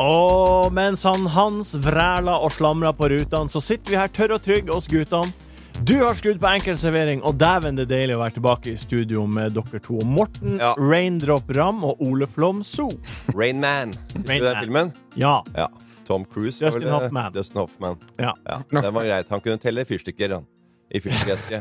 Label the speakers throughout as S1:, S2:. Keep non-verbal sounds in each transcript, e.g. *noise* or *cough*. S1: Og mens han Hans vræla og slamra på rutene, så sitter vi her tørre og trygge, oss guttene. Du har skrudd på enkel servering, og dæven det er deilig å være tilbake i studio med dere to. Morten
S2: Ja.
S1: Raindrop Ram og Ole Flom So.
S2: Rain Man. Husker
S1: Rain
S2: du den
S1: Man.
S2: filmen?
S1: Ja.
S2: Ja. Tom Cruise. var vel
S1: Dustin
S2: det?
S1: Hoffman.
S2: Dustin Hoffman.
S1: ja.
S2: Ja, det var greit. Han kunne telle fyrstikker, han. I
S3: *laughs*
S2: fyrstikkeske.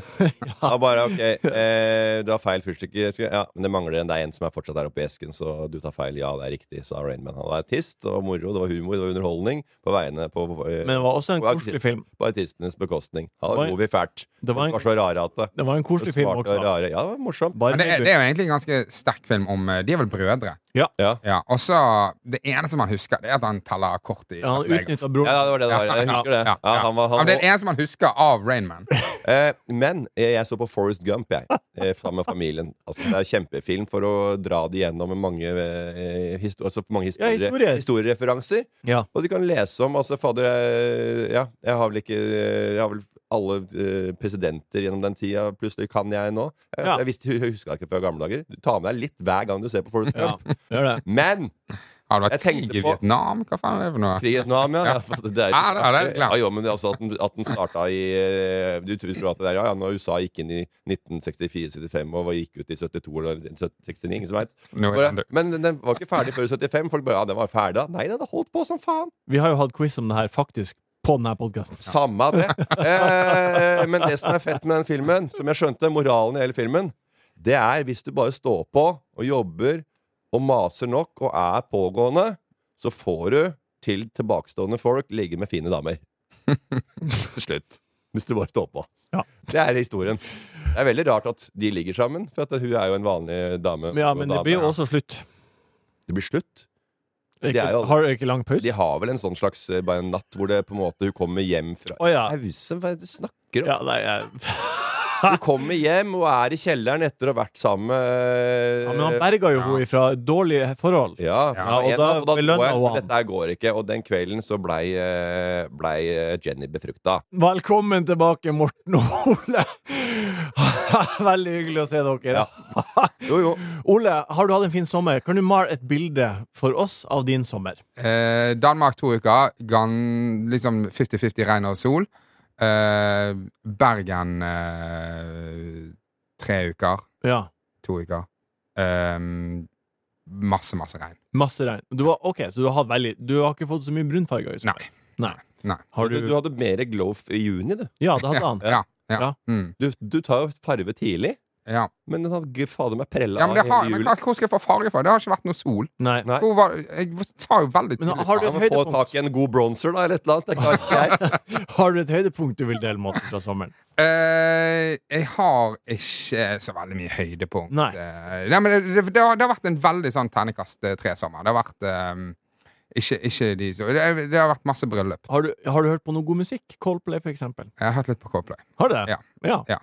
S2: Da bare OK, eh, du har feil fyrstikker. Ja, men det mangler en. Det er en som er fortsatt der oppe i esken, så du tar feil. Ja, det er riktig, sa Rainman. Han var artist og moro. Det var humor, det var underholdning på veiene på eh,
S1: Men det var også en
S2: Hvor er
S1: koselig
S2: det-
S1: film.
S2: på artistenes bekostning.
S1: Det
S2: Han
S1: var
S2: var
S1: en-
S2: god vi fælt.
S1: det var en-
S2: var så rare at det.
S1: Det var en koselig film
S2: Smart og
S1: også.
S2: rare. Ja, det var morsomt.
S1: Bare
S3: Men det, er,
S1: med-
S3: det er jo egentlig en ganske sterk film om eh, De er vel brødre.
S2: Ja.
S3: Ja, og så Det eneste man husker, det er at han teller kort i
S1: ja,
S3: Las
S1: han
S3: Vegas.
S1: utnytta
S2: Ja,
S1: broren.
S2: det var det det var. Jeg husker det.
S3: Ja,
S2: Ja,
S3: ja.
S2: han var,
S3: Ja,
S2: han,
S3: men det er det eneste man husker av Rainman.
S2: eh, men eh, jeg så på Forest Gump, jeg. eh, Sammen med familien. Altså, det er kjempefilm for å dra det gjennom med mange, eh, histo altså, mange
S1: Ja,
S2: historie
S1: historier.
S2: historiereferanser.
S1: Ja.
S2: Og du kan lese om altså, Fader, jeg, ja, jeg har vel ikke Jeg har vel alle eh, presidenter gjennom den tida. Plutselig kan jeg nå. Jeg,
S1: Ja.
S2: jeg, visste, jeg huska ikke fra gamle dager. Du tar med deg litt hver gang du ser på Forest
S1: Ja,
S2: Gump.
S1: gjør det.
S2: Men
S3: Har det vært
S2: Jeg tenkte
S3: krig i
S2: på-
S3: Vietnam? Hva faen er det for noe?
S2: Krig i Vietnam, *laughs* ja. ja. for Det er,
S3: Ja, det har jeg glemt.
S2: Ja, jo, men altså at den, at den starta i eh, Du tror at det er ja, ja, når USA gikk inn i 1964-75 og gikk ut i 72 eller 69, ingen som veit.
S3: Nå er det-
S2: Men den, den var ikke ferdig før i 75. Folk bare ja, den var ferdig da. Nei, den hadde holdt på som faen.
S1: Vi har jo hatt quiz om det her faktisk på denne podkasten.
S2: Samme av det. Eh, men det som er fett med den filmen, som jeg skjønte, moralen i hele filmen, det er hvis du bare står på og jobber og maser nok og er pågående, så får du til tilbakestående folk ligge med fine damer. Til slutt. Hvis du bare står på.
S1: Ja.
S2: Det er historien. Det er veldig rart at de ligger sammen, for at hun er jo en vanlig dame.
S1: Ja, men det
S2: dame.
S1: blir jo også slutt.
S2: det blir slutt.
S1: Ikke,
S2: er jo-
S1: Har du ikke lang pause?
S2: De har vel en sånn slags eh, bare en natt hvor det på en måte hun kommer hjem fra
S1: Å ja.
S2: Pause? Hva er det du snakker om?
S1: ja nei, jeg...
S2: Hun kommer hjem og er i kjelleren etter å ha vært sammen med
S1: Ja, men han berga jo
S3: Ja.
S1: henne fra dårlige forhold.
S2: Ja,
S3: Ja,
S2: og,
S1: og da
S2: da, og da
S1: belønna
S2: tror jeg,
S1: hun han.
S2: Dette her går ikke, og den kvelden så blei eh, blei, eh, Jenny befrukta.
S1: Velkommen tilbake, Morten og Ole. *laughs* Veldig hyggelig å se dere.
S2: Ja. Jo, jo.
S1: Ole, har du hatt en fin sommer? Kan du male et bilde for oss av din sommer?
S3: Eh, Danmark to uker. Gan, liksom 50-50 regn og sol. Eh, Bergen eh, tre uker.
S1: Ja.
S3: To uker. Eh, masse, masse regn.
S1: Masse regn. Du har, ok, så du har, hatt veldig, du har ikke fått så mye brunfarger? i sommer?
S3: Nei.
S1: Nei.
S3: Nei.
S1: Har
S2: Du,
S1: du,
S2: du hadde mer glow f- i juni, du.
S1: Ja, det hadde han.
S3: *laughs* Ja. Ja.
S1: Ja.
S3: ja. Mm,
S2: Du, du tar jo farve tidlig,
S3: ja.
S2: men den hadde gud fader meg prella
S3: ja men, det har,
S2: av i
S3: men
S2: juli.
S3: klart, hvor skal jeg få farge fra? Det har ikke vært noe sol.
S1: Nei.
S2: Nei.
S3: Hvor var, jeg sa jo veldig
S1: Men
S3: tydelig
S1: har du
S2: Ja,
S1: et
S2: men få
S1: høydepunkt?
S2: tak i en god bronser, da, eller et eller annet. Det klarer
S3: *laughs*
S2: ikke jeg.
S1: Har du et høydepunkt du vil dele med oss fra sommeren?
S3: Eh, jeg har ikke så veldig mye høydepunkt.
S1: Nei.
S3: Eh, nei men det, det, det, har, det har vært en veldig sånn terningkast eh, tre-sommer. Det har vært eh, ikke, ikke de så det, det har vært masse bryllup.
S1: Har du, har du hørt på noe god musikk? Coldplay, for eksempel.
S3: Jeg har hørt litt på Coldplay.
S1: Har du det?
S3: Ja.
S1: ja.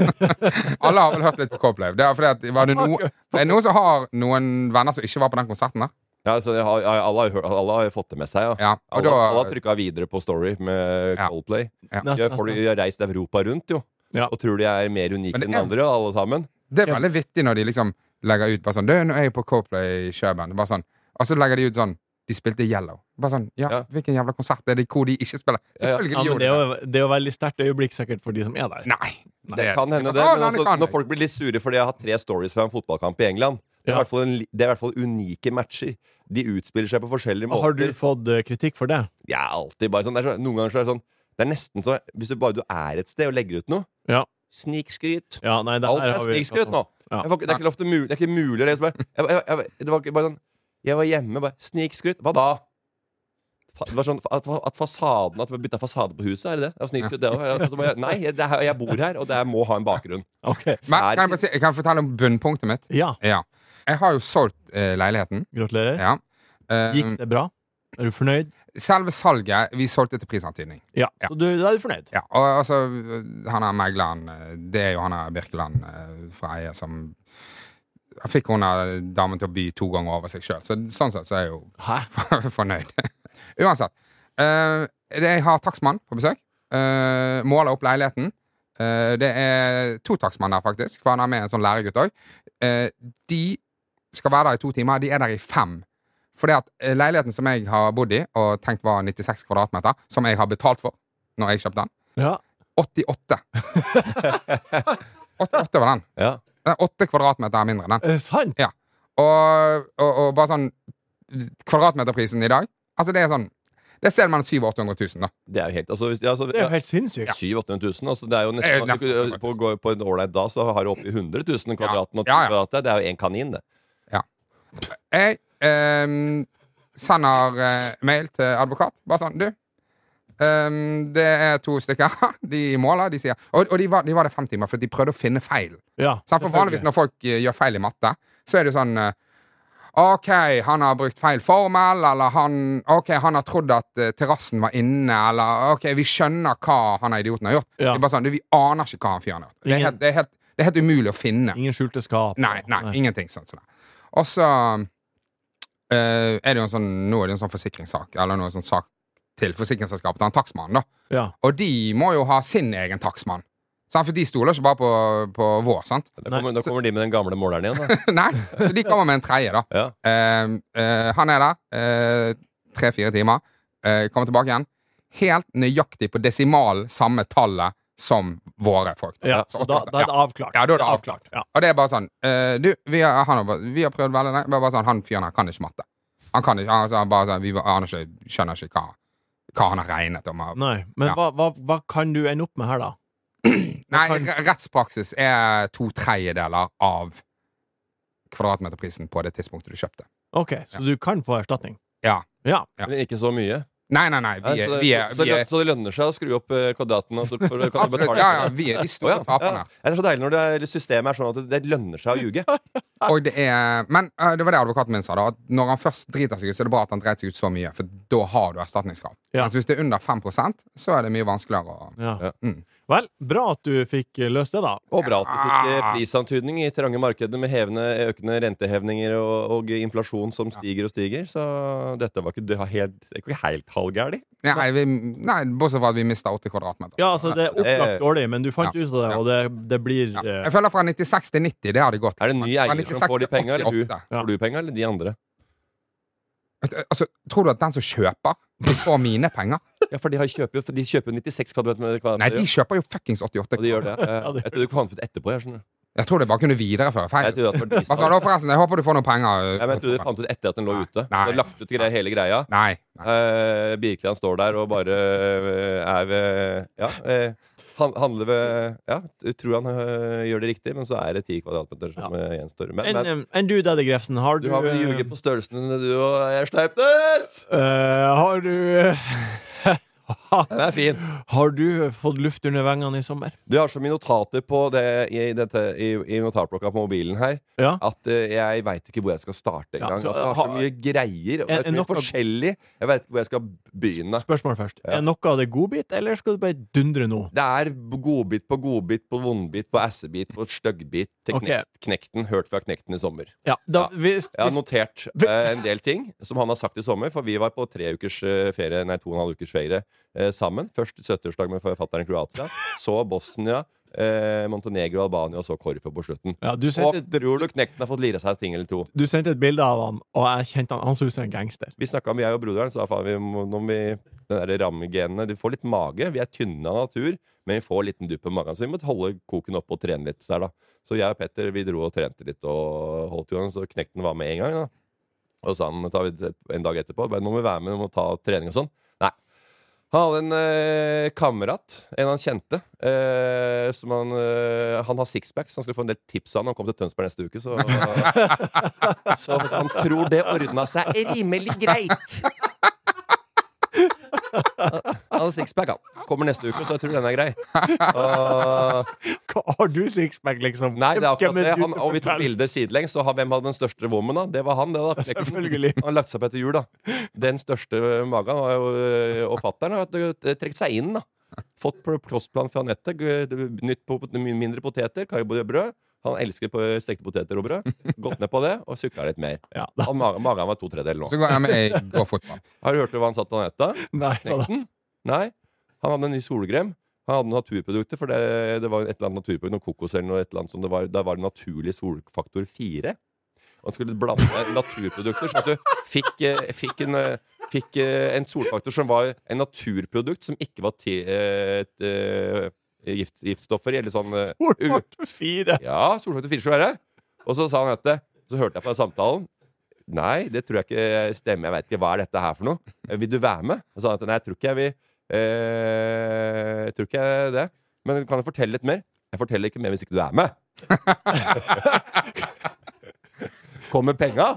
S3: Alle har vel hørt litt på Coldplay. Det er fordi at var det, no,
S1: Har ikke-
S3: er det noen som har noen venner som ikke var på den konserten der?
S2: Ja, så jeg har, jeg, alle, har, hørt- alle har fått det med seg, ja.
S3: Ja, og
S2: Alle, alle har
S3: da,
S2: trykka videre på Story med
S3: Ja.
S2: Coldplay.
S1: Neste,
S2: Jeg, folk,
S1: neste,
S2: jeg har reist Europa rundt, jo.
S1: Ja.
S2: Og tror de er mer unike
S3: Men det
S2: enn
S3: er-
S2: andre, alle sammen.
S3: det er veldig vittig når de liksom legger ut bare sånn Du, nå er jeg på Coldplay i Kjøben. Bare sånn. Og så legger de ut sånn De spilte Yellow. Bare sånn Ja,
S2: Ja.
S3: hvilken jævla konsert er det hvor de ikke spiller?
S2: Ja, ja.
S3: Selvfølgelig
S1: Ja, men det
S3: gjorde de
S1: er
S3: det.
S1: jo, det er jo veldig sterkt øyeblikk sikkert for de som er der.
S3: Nei.
S2: Det kan hende, det.
S3: Ah,
S2: Men
S3: nei,
S2: altså,
S3: kan
S2: når
S3: jeg.
S2: folk blir litt sure fordi jeg har tre stories fra en fotballkamp i England Det er,
S1: Ja.
S2: i hvert fall en, li- det er i hvert fall unike matcher. De utspiller seg på forskjellige
S1: Og Har du
S2: måter.
S1: fått eh, kritikk for det?
S2: Jeg er alltid bare sånn, det er så, Noen ganger så er det sånn Det er nesten så Hvis du bare du er et sted og legger ut noe
S1: Ja.
S2: Snikskryt.
S1: Ja, nei, det
S2: Alt
S1: her
S2: er
S1: har vi- altså,
S2: snikskryt nå.
S1: Ja.
S2: Jeg får, ikke- det er ikke lov til mulig. Det er ikke mulig å lese bare- jeg, jeg, jeg, Det var ikke bare sånn Jeg var hjemme, bare Snikskryt. Hva da? Fa- Det var sånn at, at fasaden At vi bytta fasade på huset, er det det? Det var snikskryt, det òg. Nei, jeg, det er, jeg bor her, og det er, må ha en bakgrunn.
S1: Ok.
S3: Men
S2: Er-
S3: kan jeg, bare si, kan jeg fortelle om bunnpunktet mitt?
S1: Ja,
S3: Ja. Jeg har jo solgt eh, leiligheten.
S1: gratulerer.
S3: Ja. Eh,
S1: Gikk det bra? Er du fornøyd?
S3: Selve salget Vi solgte til prisantydning.
S1: Ja,
S3: Ja.
S1: Så du, da er du fornøyd?
S3: Ja, og altså, han er megleren eh, Det er jo han er Birkeland eh, fra eier som han fikk hun eh, damen til å by to ganger over seg sjøl, så sånn sett så er jeg jo
S1: Hæ?
S3: *laughs* fornøyd. Uansett. eh, det- jeg har takstmann på besøk. eh, måler opp leiligheten. Eh, det er to takstmann der, faktisk, for han har med en sånn læregutt òg. de skal være der i to timer. De er der i fem. Fordi at eh, leiligheten som jeg har bodd i, og tenkt var 96 kvadratmeter, som jeg har betalt for når jeg kjøpte den,
S1: Ja.
S3: 88. 88 var den.
S2: Ja.
S3: Den er 8 kvadratmeter er mindre enn
S1: Er
S3: den.
S1: det Eh, sant?
S3: Og, og, og bare sånn Kvadratmeterprisen i dag Altså Det er sånn Det er sted mellom 700 og 800 000. Da.
S2: Det er jo helt altså, hvis- ja, altså,
S1: Det er jo
S2: ja,
S1: helt sinnssykt.
S2: 700 000 altså, det er jo
S3: Eh,
S2: nesten,
S3: nesten,
S2: på, går- på en ålreit da så har du oppi 100 000 kvadraten. og
S3: Ja, ja.
S2: kvadratet, Det er jo én kanin, det.
S3: Jeg ehm, sender eh, mail til advokat. Bare sånn Du, ehm, det er to stykker. *laughs* De måler, de sier Og, og de, var, de var der fem timer, for de prøvde å finne feil.
S1: Ja,
S3: Sant? Sånn, For vanligvis når folk eh, gjør feil i matte, så er det jo sånn eh, OK, han har brukt feil formel, eller han, ok, han har trodd at eh, terrassen var inne, eller OK, vi skjønner hva han er idioten har gjort.
S1: Ja.
S3: Det er bare sånn, du, Vi aner ikke hva han fyren har gjort. Det er,
S1: Ingen-
S3: helt, det, er helt, det er helt umulig å finne.
S1: Ingen skjulte skap.
S3: Nei, nei, ingenting sånt. som det. Og så eh, er det jo en sånn, nå er det jo en sånn forsikringssak, eller noe sånn sak til forsikringsselskapet til han takstmannen, da.
S1: Ja.
S3: Og de må jo ha sin egen takstmann. Sant? For de stoler ikke bare på, på vår, sant?
S2: Da kommer, da kommer de med den gamle måleren igjen. Da.
S3: *laughs* Nei, så de kommer med en tredje, da.
S2: Ja.
S3: Eh, eh, han er der eh, tre-fire timer. eh, kommer tilbake igjen. Helt nøyaktig på desimal samme tallet som våre folk.
S1: Ja,
S3: Så
S1: så da, da er det
S3: ja.
S1: avklart.
S3: Ja, da er det avklart.
S1: Ja.
S3: Og det er bare sånn eh, Du, vi har, han har, bare- vi har prøvd veldig lenge. Bare, bare sånn, han fyren her kan ikke matte. Han kan ikke, han, han, bare, sånn, vi aner ikke, skjønner ikke hva, hva han har regnet om. og-
S1: Nei, men
S3: Ja.
S1: hva, hva, hva kan du ende opp med her, da?
S3: Nei,
S1: kan-
S3: re- rettspraksis er to tredjedeler av kvadratmeterprisen på det tidspunktet du kjøpte.
S1: OK, så du kan få erstatning?
S3: Ja.
S1: Ja.
S3: Ja.
S2: Men ikke så mye.
S3: Nei, nei, nei. Vi
S2: Nei,
S3: er,
S2: så,
S3: vi er,
S2: så,
S3: vi er,
S2: så, det lønner seg å skru opp eh, kvadraten? Og så for, kan du
S3: Absolutt.
S2: betale
S3: Ja,
S2: for
S3: ja,
S2: det.
S3: vi er de
S2: Å,
S3: store
S2: ja,
S3: taperne.
S2: ja. Det er så deilig når det er, systemet er sånn at det lønner seg å ljuge.
S3: *laughs* Og det er, men eh, det var det advokaten min sa. da at Når han først driter seg ut, så er det bra at han dreit seg ut så mye, for da har du erstatningskrav.
S1: Ja.
S3: Mens hvis det er under 5 så er det mye vanskeligere å
S1: Ja.
S2: Ja.
S3: Mm.
S1: Vel, bra at du fikk eh, løst det, da.
S2: Og bra at du fikk eh, prisantydning i trange markeder med hevende, økende rentehevninger og, og inflasjon som stiger og stiger. Så dette var ikke, det var helt, det er ikke helt halvgærlig.
S3: Nei, vi, nei bortsett fra at vi mista 80 kvadratmeter.
S1: Ja, altså, det er opplagt
S2: Eh,
S1: dårlig, men du fant
S3: ja,
S1: ut av det,
S3: ja.
S1: og det, det blir
S3: Ja.
S1: eh,
S3: Jeg føler fra 96 til 90, det har de gått.
S2: Er det en ny
S3: Fra
S2: eier
S3: 96
S2: som får de
S3: til
S2: penga, eller du?
S3: 88.
S1: Ja.
S2: Får du penga, eller de andre?
S3: Altså, tror du at den som kjøper, får mine penger?
S2: Ja, for de har kjøper jo for de kjøper jo 96 kvadratmeter.
S3: Nei, de
S2: kvadratmeter,
S3: kjøper jo fuckings 88.
S2: Og de gjør det. Eh,
S1: Ja, det-
S2: Jeg trodde du fant ut etterpå. Jeg skjønner
S3: Jeg tror det bare kunne videreføre feil.
S2: Jeg trodde at det var de
S3: Hva
S2: som-
S3: sa du? Forresten, jeg håper du får noen penger.
S2: Ja, men jeg trodde du fant ut etter at den lå
S3: Nei.
S2: ute.
S3: Nei.
S2: Du har lagt ut gre- hele greia.
S3: Nei. nei.
S2: Eh, Birkeland står der og bare eh, er ved Ja. Eh, han, handler ved Ja, t- tror han eh, gjør det riktig, men så er det ti kvadratmeter som eh, gjenstår. Men,
S1: Enn
S2: men
S1: en, enn du, Daddy Grefsen, har du
S2: du har vel
S1: eh,
S2: ljuget på størrelsen din, du og jeg sleip det!
S1: eh, Har du eh, *laughs*
S2: Den er fin.
S1: Har du fått luft under vengene i sommer?
S2: Du har så mye notater på det, i, dette, i, i notatblokka på mobilen her
S1: Ja.
S2: at eh, jeg veit ikke hvor jeg skal starte
S1: Ja,
S2: engang.
S1: så, eh,
S2: altså, jeg har
S1: ha-
S2: så mye greier. Og
S1: Er- er
S2: det er så mye
S1: nok av-
S2: forskjellig. Jeg veit ikke hvor jeg skal begynne.
S1: Spørsmål først.
S2: Ja.
S1: Er noe av det godbit, eller skal du bare dundre nå?
S2: Det er godbit på godbit på vondbit på assebit på styggbit til
S1: Ok.
S2: knekt, knekten. Hørt fra knekten i sommer.
S1: Ja, da,
S2: Ja.
S1: hvis,
S2: Jeg har
S1: hvis,
S2: notert
S1: *laughs*
S2: eh, en del ting som han har sagt i sommer, for vi var på tre ukers eh, ferie, nei, to og en halv ukers ferie eh, sammen. Først 70-årsdag med forfatteren
S1: *laughs*
S2: i Kroatia, så Bosnia, eh, Montenegro, Albania og så Korfu på slutten.
S1: ja, du,
S2: Og
S1: sendte,
S2: tror du knekten har fått lire seg et ting eller to?
S1: du sendte et bilde av han, og jeg kjente han. Han så ut som en gangster. *laughs*
S2: Vi snakka om jeg og broderen, så da faen, vi må, når vi den der rammegenene De får litt mage. Vi er tynne av natur, men vi får en liten dupp i magen. Så vi må holde koken oppe og trene litt der, da. Så jeg og Petter vi dro og trente litt og holdt i gang, så knekten var med en gang. da Og så han tar vi en dag etterpå. Bare, 'Nå må vi være med, nå må vi ta trening og sånn'. Nei. Han hadde en eh, kamerat, en han kjente, eh, som han eh, Han har sixpack, så han skulle få en del tips av han. Han kom til Tønsberg neste uke, så Så han tror det ordna seg rimelig greit. Han har sixpack, han. Kommer neste uke, så jeg tror den er grei. Og,
S1: Hva Har du sixpack, liksom?
S2: nei, det er
S1: Hvem
S2: akkurat det.
S1: du
S2: Han,
S1: til å
S2: og vi tok
S1: fortelle?
S2: bilder sidelengs, så han- hvem hadde den største vommen, da? Det var han, det, da. *laughs*
S1: Selvfølgelig.
S2: Han har lagt seg opp etter jul, da. Den største magen var jo eh, Og fatteren har jo trukket seg inn, da. Fått pl- kostplan fra nettet. g- Nytt på mindre poteter, karbobrød. Han elsker på- stekte poteter og brød. Gått ned på det og sykla litt mer.
S1: Ja, da.
S2: Han, magen, magen var to tredjedeler nå.
S3: Så går jeg med jeg går fotball.
S2: Har du hørt hva han satt på nettet?
S1: Nei, hva da?
S2: Knekten? Nei. Han hadde en ny solkrem. Han hadde naturprodukter, for det, det var et eller annet naturprodukt, noe kokos eller noe et eller annet som det var, der var det naturlig solfaktor 4. Og han skulle blande naturprodukter, så at du fikk, eh, fikk, en, eh, fikk eh, en solfaktor som var en naturprodukt som ikke var ti, eh, et, eh, gift, giftstoffer i, eller sånn eh, u-
S1: Solfaktor 4.
S2: ja, solfaktor 4 skulle være. Og så sa han dette. Så hørte jeg på den samtalen. Nei, det tror jeg ikke stemmer. Jeg vet ikke. Hva er dette her for noe? Eh, Vil du være med? Og så sa han at nei, jeg tror ikke jeg vil eh, Jeg tror ikke jeg det. Men kan du fortelle litt mer? Jeg forteller ikke mer hvis ikke du er med. *laughs* Kommer penga?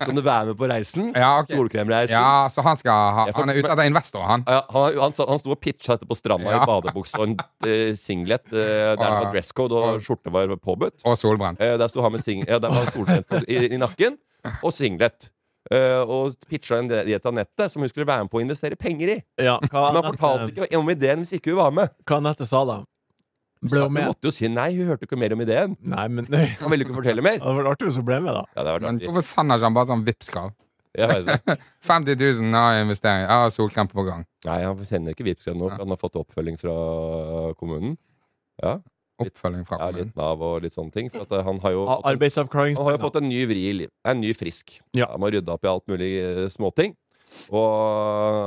S2: Kan du være med på reisen?
S3: Ja, ok.
S2: Solkremreisen?
S3: Ja, så han, skal ha,
S2: Jeg får-
S3: han er ute etter investor, han.
S2: Ja, han, han, sa- han sto og pitcha dette på stranda
S3: Ja. Ah.
S2: i badebukse og en eh, singlet eh, der det var dress code og skjorte var påbudt.
S3: Og solbrent.
S2: Eh, der sto han med sing ja, der var han solbrent på- i, i nakken og singlet. Eh, og pitcha en diett av nettet som hun skulle være med på å investere penger i.
S1: Ja, hva
S2: Men han fortalte
S1: Anette,
S2: ikke om ideen hvis ikke hun var med.
S1: hva Anette sa da? Ble
S2: Så
S1: hun
S2: hun
S1: med?
S2: måtte jo si nei. Hun hørte jo ikke mer om ideen.
S1: Nei, men nei.
S2: Han ville jo ikke fortelle mer.
S1: Det hadde vært artig hvis hun ble med, da.
S2: Ja, det var
S3: Men
S2: artig.
S3: hvorfor sender ikke han bare sånn Vipps-krav?
S2: Jeg vet det.
S3: 50 000 har investering. Jeg har solkrem på gang.
S2: Nei, han sender ikke Vipps nå, for han har fått oppfølging fra kommunen. Ja,
S3: Oppfølging fra
S2: ja
S3: kommunen.
S2: litt Nav og litt sånne ting. For at eh, han har jo
S1: Ja,
S2: fått en- Han har jo
S1: Arbeidsavklaringspenger.
S2: fått en ny vri i livet. En ny frisk.
S1: Ja.
S2: Han har rydda opp i alt mulig eh, småting. Og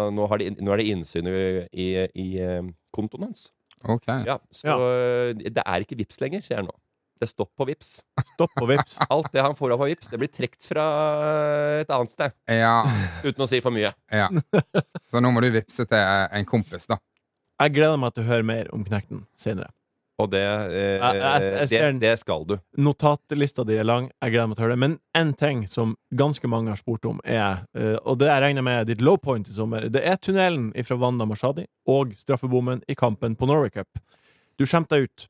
S2: eh, nå, har de, nå er det innsyn i, i, i eh, kontoen hans.
S3: Ok.
S2: Ja, så eh, det er ikke VIPS lenger, sier han nå. Det er stopp på VIPS.
S1: Stopp og vips.
S2: Alt det han får opp av VIPS, det blir trukket fra eh, et annet sted.
S3: Ja,
S2: Uten å si for mye.
S3: ja. Så nå må du vippse til eh, en kompis, da.
S1: Jeg gleder meg til å høre mer om Knekten senere.
S2: Og det,
S1: Jeg-
S2: eh,
S1: jeg- jeg
S2: det,
S1: ser den.
S2: det skal du.
S1: Notatlista di er lang. Jeg gleder meg til å høre det. Men én ting som ganske mange har spurt om, er eh, Og det jeg regner med er ditt low point i sommer. Det er tunnelen fra Wanda Mashadi og straffebommen i kampen på Norway Cup. Du skjemte deg ut.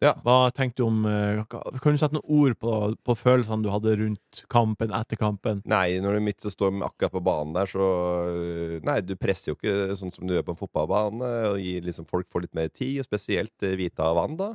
S2: Ja.
S1: Hva tenkte du om eh, hva- Kan du sette noen ord på, på følelsene du hadde rundt kampen, etter kampen?
S2: Nei, når du midt står med akkurat på banen der, så øh, Nei, du presser jo ikke sånn som du gjør på en fotballbane, og gir liksom folk får litt mer tid, og spesielt eh, Vita og Wanda.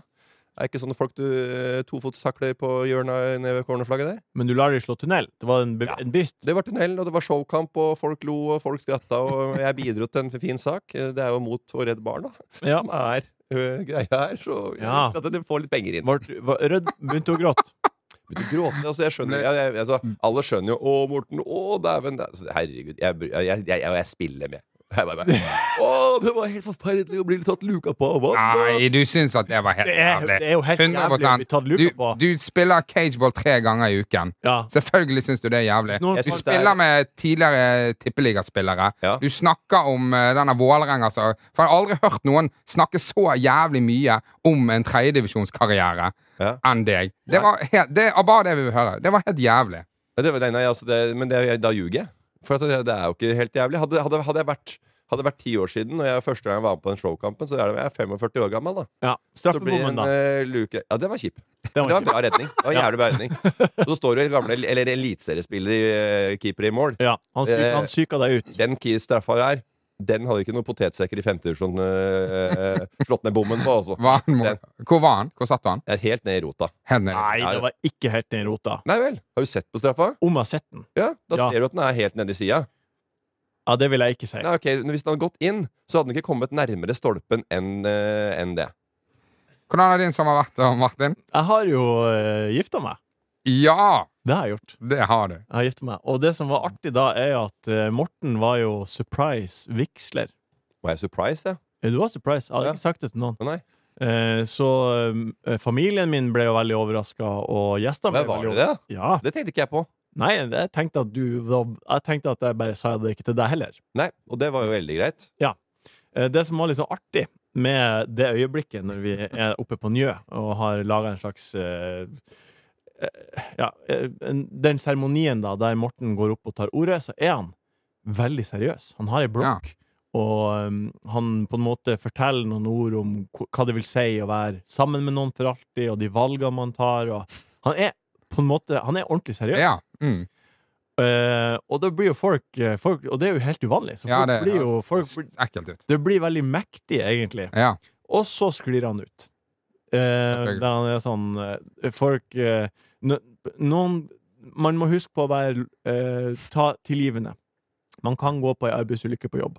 S2: Er ikke sånne folk du eh, tofotstakler på hjørnet nede ved cornerflagget der?
S1: Men du lar dem slå tunnel. Det var en, be
S2: Ja.
S1: en beast.
S2: Det var tunnel, og det var showkamp, og folk lo, og folk skratta, og jeg bidro til en fin sak. Eh, Det er jo mot å redde barna
S1: Ja.
S2: som er øh, greia her, så jeg
S1: Ja.
S2: liker at de får litt penger inn.
S1: Var, var rød, begynte å gråte.
S2: Begynte å gråte. Altså, jeg skjønner, jeg, jeg, altså, alle skjønner jo 'Å, Morten, å, dæven'. det er- altså, Herregud. Jeg, bry- jeg, jeg, jeg, jeg spiller med. Jeg bare, bare, å, det var helt forferdelig å bli tatt luka på av vann.
S3: Nei, du syns at det var helt
S1: Det er-
S3: jævlig.
S1: det er jo helt jævlig å bli tatt luka
S3: Du,
S1: på.
S3: du spiller cageball tre ganger i uken.
S1: Ja.
S3: Selvfølgelig syns du det er jævlig.
S1: Hvis noen-
S2: Jeg
S3: Du
S2: synes det er-
S3: spiller med tidligere tippeligaspillere.
S2: Ja.
S3: Du snakker om eh, denne Vålerenga som For jeg har aldri hørt noen snakke så jævlig mye om en tredjedivisjonskarriere
S2: Ja.
S3: enn deg. Det var helt, det er bare det vi vil høre. Det var helt jævlig.
S2: Ja, det var, nei, nei, altså, det, men det, da ljuger jeg. For at det, det er jo ikke helt jævlig. Hadde, hadde, hadde jeg vært hadde det vært ti år siden, og jeg første gang jeg var med på den showkampen, så er det, jeg er 45 år gammel. da
S1: ja.
S2: Så blir det
S1: Straffebommen,
S2: en
S1: da.
S2: eh, luke Ja, det var kjip.
S1: Det
S2: Det var
S1: var
S2: en
S1: ikke
S2: bra redning. Det var en jævlig bra redning Og Så står det en gamle eller eliteseriespiller, eh, keeper, i mål.
S1: ja. han, syk,
S2: Eh,
S1: han syka deg ut.
S2: den ki- straffa der, den hadde ikke noen potetsekker i femtedivisjon uh, slått ned bommen på, altså.
S3: Var han,
S2: Den-
S3: må- hvor var han? Hvor satt han?
S2: Det er helt ned i rota.
S3: Helt nede.
S1: Nei, det var ikke helt ned i rota.
S2: Nei vel. Har du sett på straffa?
S1: Om jeg har sett den?
S2: Ja, Da
S1: Ja.
S2: ser du at den er helt nedi sida.
S1: Ja, det vil jeg ikke si.
S2: Nei, ok, Hvis den hadde gått inn, så hadde den ikke kommet nærmere stolpen enn eh, enn det.
S3: Hvordan har din sommer vært, da, Martin?
S1: Jeg har jo uh, gifta meg.
S3: Ja,
S1: Det har jeg gjort.
S3: det har du.
S1: Jeg har gifta meg. Og det som var artig da, er jo at eh, Morten var jo surprise vigsler.
S2: Var jeg surprised, jeg?
S1: Eh, Du var surprise. Jeg hadde
S2: Ja.
S1: ikke sagt det til noen.
S2: Å, Nei.
S1: Eh, så eh, familien min ble jo veldig overraska, og gjestene
S2: Men
S1: ble
S2: var
S1: veldig
S2: det det?
S1: overrasket. Ja.
S2: Det tenkte ikke jeg på.
S1: Nei, jeg tenkte at du Jeg tenkte at jeg bare sa det ikke til deg heller.
S2: Nei, Og det var jo veldig greit.
S1: Eh, Det som var litt sånn artig med det øyeblikket når vi er oppe på Njø og har laga en slags eh, eh, Ja, eh, en- den seremonien da der Morten går opp og tar ordet, så er han veldig seriøs. Han har ei blokk Og um, han på en måte forteller noen ord om hva hva det vil si å være sammen med noen for alltid, og de valgene man tar. Og han er på en måte Han er ordentlig seriøs.
S3: Ja. Mm.
S1: Eh, og da blir jo folk, eh, folk Og det er jo helt uvanlig. Så folk
S3: ja det
S1: blir jo
S3: høres
S1: folk, blir-
S3: ekkelt ut.
S1: Det blir veldig mektig, egentlig.
S3: Ja.
S1: Og så sklir han ut. Eh,
S3: Selvfølgelig.
S1: der han er sånn eh, Folk eh, no, Noen Man må huske på å være eh, ta, tilgivende. Man kan gå på ei arbeidsulykke på
S2: *laughs*
S1: jobb.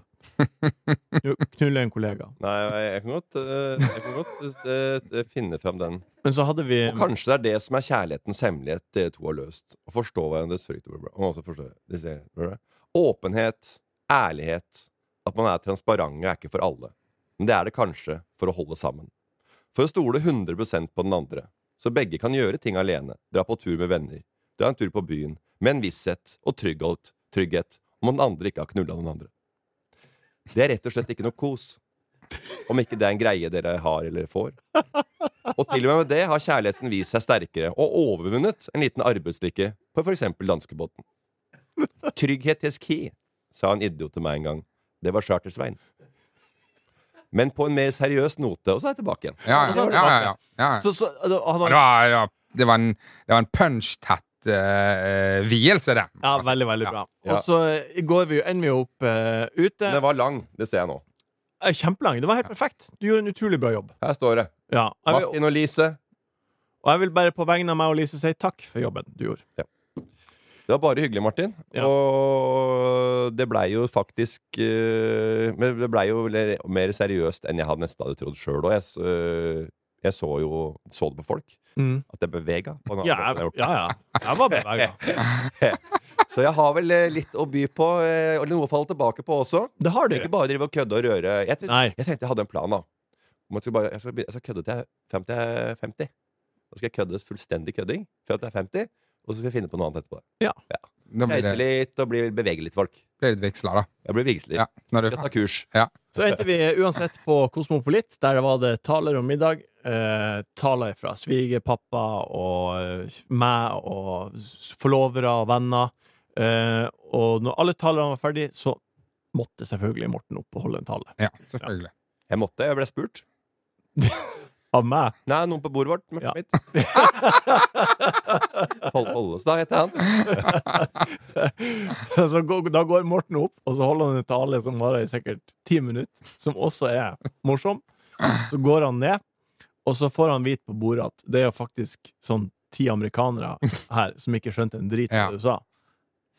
S1: Knu- Knulle en kollega.
S2: Nei, jeg jeg kan godt, eh, jeg kan godt eh, eh, finne frem den.
S1: Men så hadde vi
S2: Og kanskje det er det som er kjærlighetens hemmelighet dere to har løst. Å forstå hverandres frykt. og bla, bla. Og også forstå disse- bla, bla. Åpenhet, ærlighet, at man er transparent er ikke for alle. Men det er det kanskje for å holde sammen. For å stole 100 på den andre. Så begge kan gjøre ting alene. Dra på tur med venner. Dra en tur på byen. Med en visshet og trygghet, trygghet om at den andre ikke har knulla noen andre. Det er rett og slett ikke noe kos. Om ikke det er en greie dere har eller får. Og til og med med det har kjærligheten vist seg sterkere og overvunnet en liten arbeidslykke på f.eks. danskebåten. Trygghet is key, sa en idiot til meg en gang. Det var Charter-Svein. Men på en mer seriøs note, og så er jeg tilbake igjen.
S3: Ja, ja, ja, ja, ja. ja.
S1: så, så, da-
S3: Ja,
S1: han,
S3: Det var, det var, det var en, det var en punch-tett eh, vielse, det.
S1: Ja, veldig, veldig bra.
S2: Ja.
S1: Og så eh, går vi jo, ender vi jo opp eh, ute.
S2: Den var lang, det ser jeg nå.
S1: Eh, Kjempelang. Det var helt perfekt. Du gjorde en utrolig bra jobb.
S2: Her står det.
S1: Ja. Jeg vil,
S2: Martin og Lise.
S1: og jeg vil bare på vegne av meg og Lise si takk for jobben du gjorde.
S2: Det var bare hyggelig, Martin.
S1: Ja.
S2: Og det blei jo faktisk eh, Men det blei jo le- mer seriøst enn jeg hadde nesten hadde trodd sjøl. Og jeg, s- eh, jeg så jo så det på folk. At jeg bevega. På en annen
S1: Mm. Ja, jeg-
S2: måte enn jeg har gjort.
S1: ja, ja. Jeg var bevega.
S2: *laughs* Så jeg har vel eh, litt å by på, eh, og noe å falle tilbake på også.
S1: Det har du.
S2: Ikke bare drive og kødde og røre. Jeg, trodde-
S1: Nei.
S2: jeg tenkte jeg hadde en plan, da. Om jeg skal, bare, jeg skal, begynne- jeg skal kødde til jeg er fem- til jeg er 50. Da skal jeg kødde fullstendig kødding fram til jeg er 50, og så skal jeg finne på noe annet etterpå.
S3: Da blir
S2: Reise
S3: det
S2: litt og bli, bevege litt folk.
S3: blir litt vigsler, da.
S2: Jeg blir vigsler.
S3: Ja, når du,
S2: Skal ta kurs.
S1: Så endte vi uansett på Kosmopolit. Der var det taler om middag. Eh, taler fra svigerpappa og eh, meg og s- forlovere og venner. Eh, og når alle talerne var ferdige, så måtte selvfølgelig Morten opp og holde en tale.
S3: ja, selvfølgelig.
S2: Jeg måtte, jeg ble spurt.
S1: Av meg.
S2: Nei, noen på bordet vårt.
S1: Ja.
S2: Ja. *laughs* Mitt. Pål Pollestad heter han.
S1: *laughs* så gå- da går Morten opp, og så holder han en tale som varer i sikkert ti minutter, som også er morsom. Så går han ned, og så får han vite på bordet at det er jo faktisk sånn ti amerikanere her som ikke skjønte en drit
S3: Ja.
S1: av det du sa.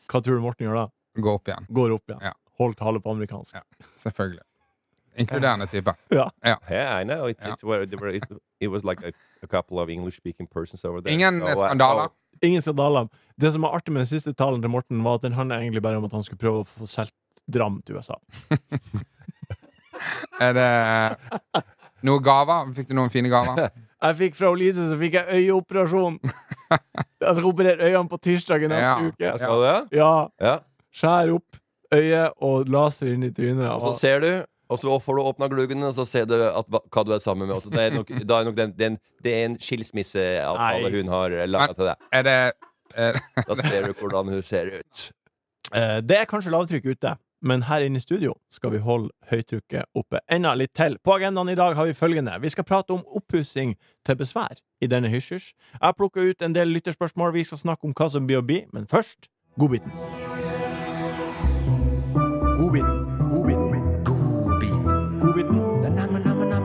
S1: Hva tror du Morten gjør da?
S3: Gå opp igjen.
S1: Går opp igjen.
S3: Ja.
S1: Holder tale på amerikansk.
S3: Ja. Selvfølgelig. Inkluderende type.
S2: Yeah, I know. It,
S3: Ja.
S2: it, were- it, were- it, it was like a, a couple of English-speaking persons over there. Oh,
S3: Ingen
S2: So I-
S3: skandaler.
S2: so-
S1: Ingen skandaler. Det som var artig med den siste talen til Morten, var at den handla egentlig bare om at han skulle prøve å få solgt Dram til USA.
S3: Er det noen gaver? Fikk du noen fine *laughs* gaver?
S1: Jeg fikk fra Lise så fikk jeg øyeoperasjon. Jeg skal operere øynene på tirsdag i
S3: Ja.
S1: neste
S2: Oh, Ja,
S1: uke.
S2: skal du det?
S1: Ja,
S2: Ja.
S1: skjær opp øyet og laser inn i trynet. altså.
S2: Og så
S1: Og,
S2: ser du, og så får du åpna gluggen, og så ser du at, hva- hva du er sammen med. Og så det er *laughs* nok, da er nok den, den, det er en
S1: Nei.
S2: skilsmisseavtale hun har laga
S3: Men-
S2: til deg.
S3: Er det eh, er,
S2: Da ser du hvordan hun ser ut.
S1: eh, det er kanskje lavtrykk ute, men her inne i studio skal vi holde høytrykket oppe enda litt til. På agendaen i dag har vi følgende. Vi skal prate om oppussing til besvær i denne hysj-hysj. Jeg har plukka ut en del lytterspørsmål. Vi skal snakke om hva som blir å bli, men først godbiten. Godbiten. Godbiten. Godbiten.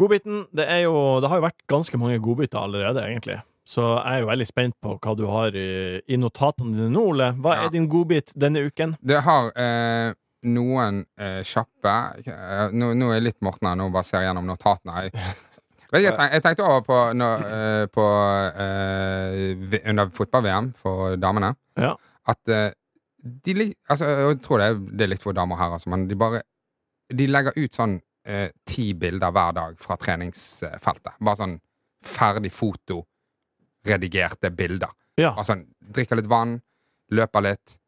S1: Godbiten, det, er jo, det har jo vært ganske mange godbiter allerede, egentlig. Så jeg er jo veldig spent på hva du har i, i notatene dine nå, Ole. Hva
S3: Ja.
S1: er din godbit denne uken?
S3: Det har eh, noen eh, kjappe eh, nå, nå er jeg litt Morten her, nå bare ser jeg gjennom notatene. Jeg, Vet ikke, jeg, tenk, jeg tenkte over på, når, eh, på eh, vi- under fotball-VM for damene
S1: Ja.
S3: at eh, de lig- altså, Jeg tror det er, det er likt for damer her, altså, men de bare De legger ut sånn eh, ti bilder hver dag fra treningsfeltet. Bare sånn ferdig foto, redigerte bilder.
S1: Ja,
S3: Altså, drikker litt vann, løper litt.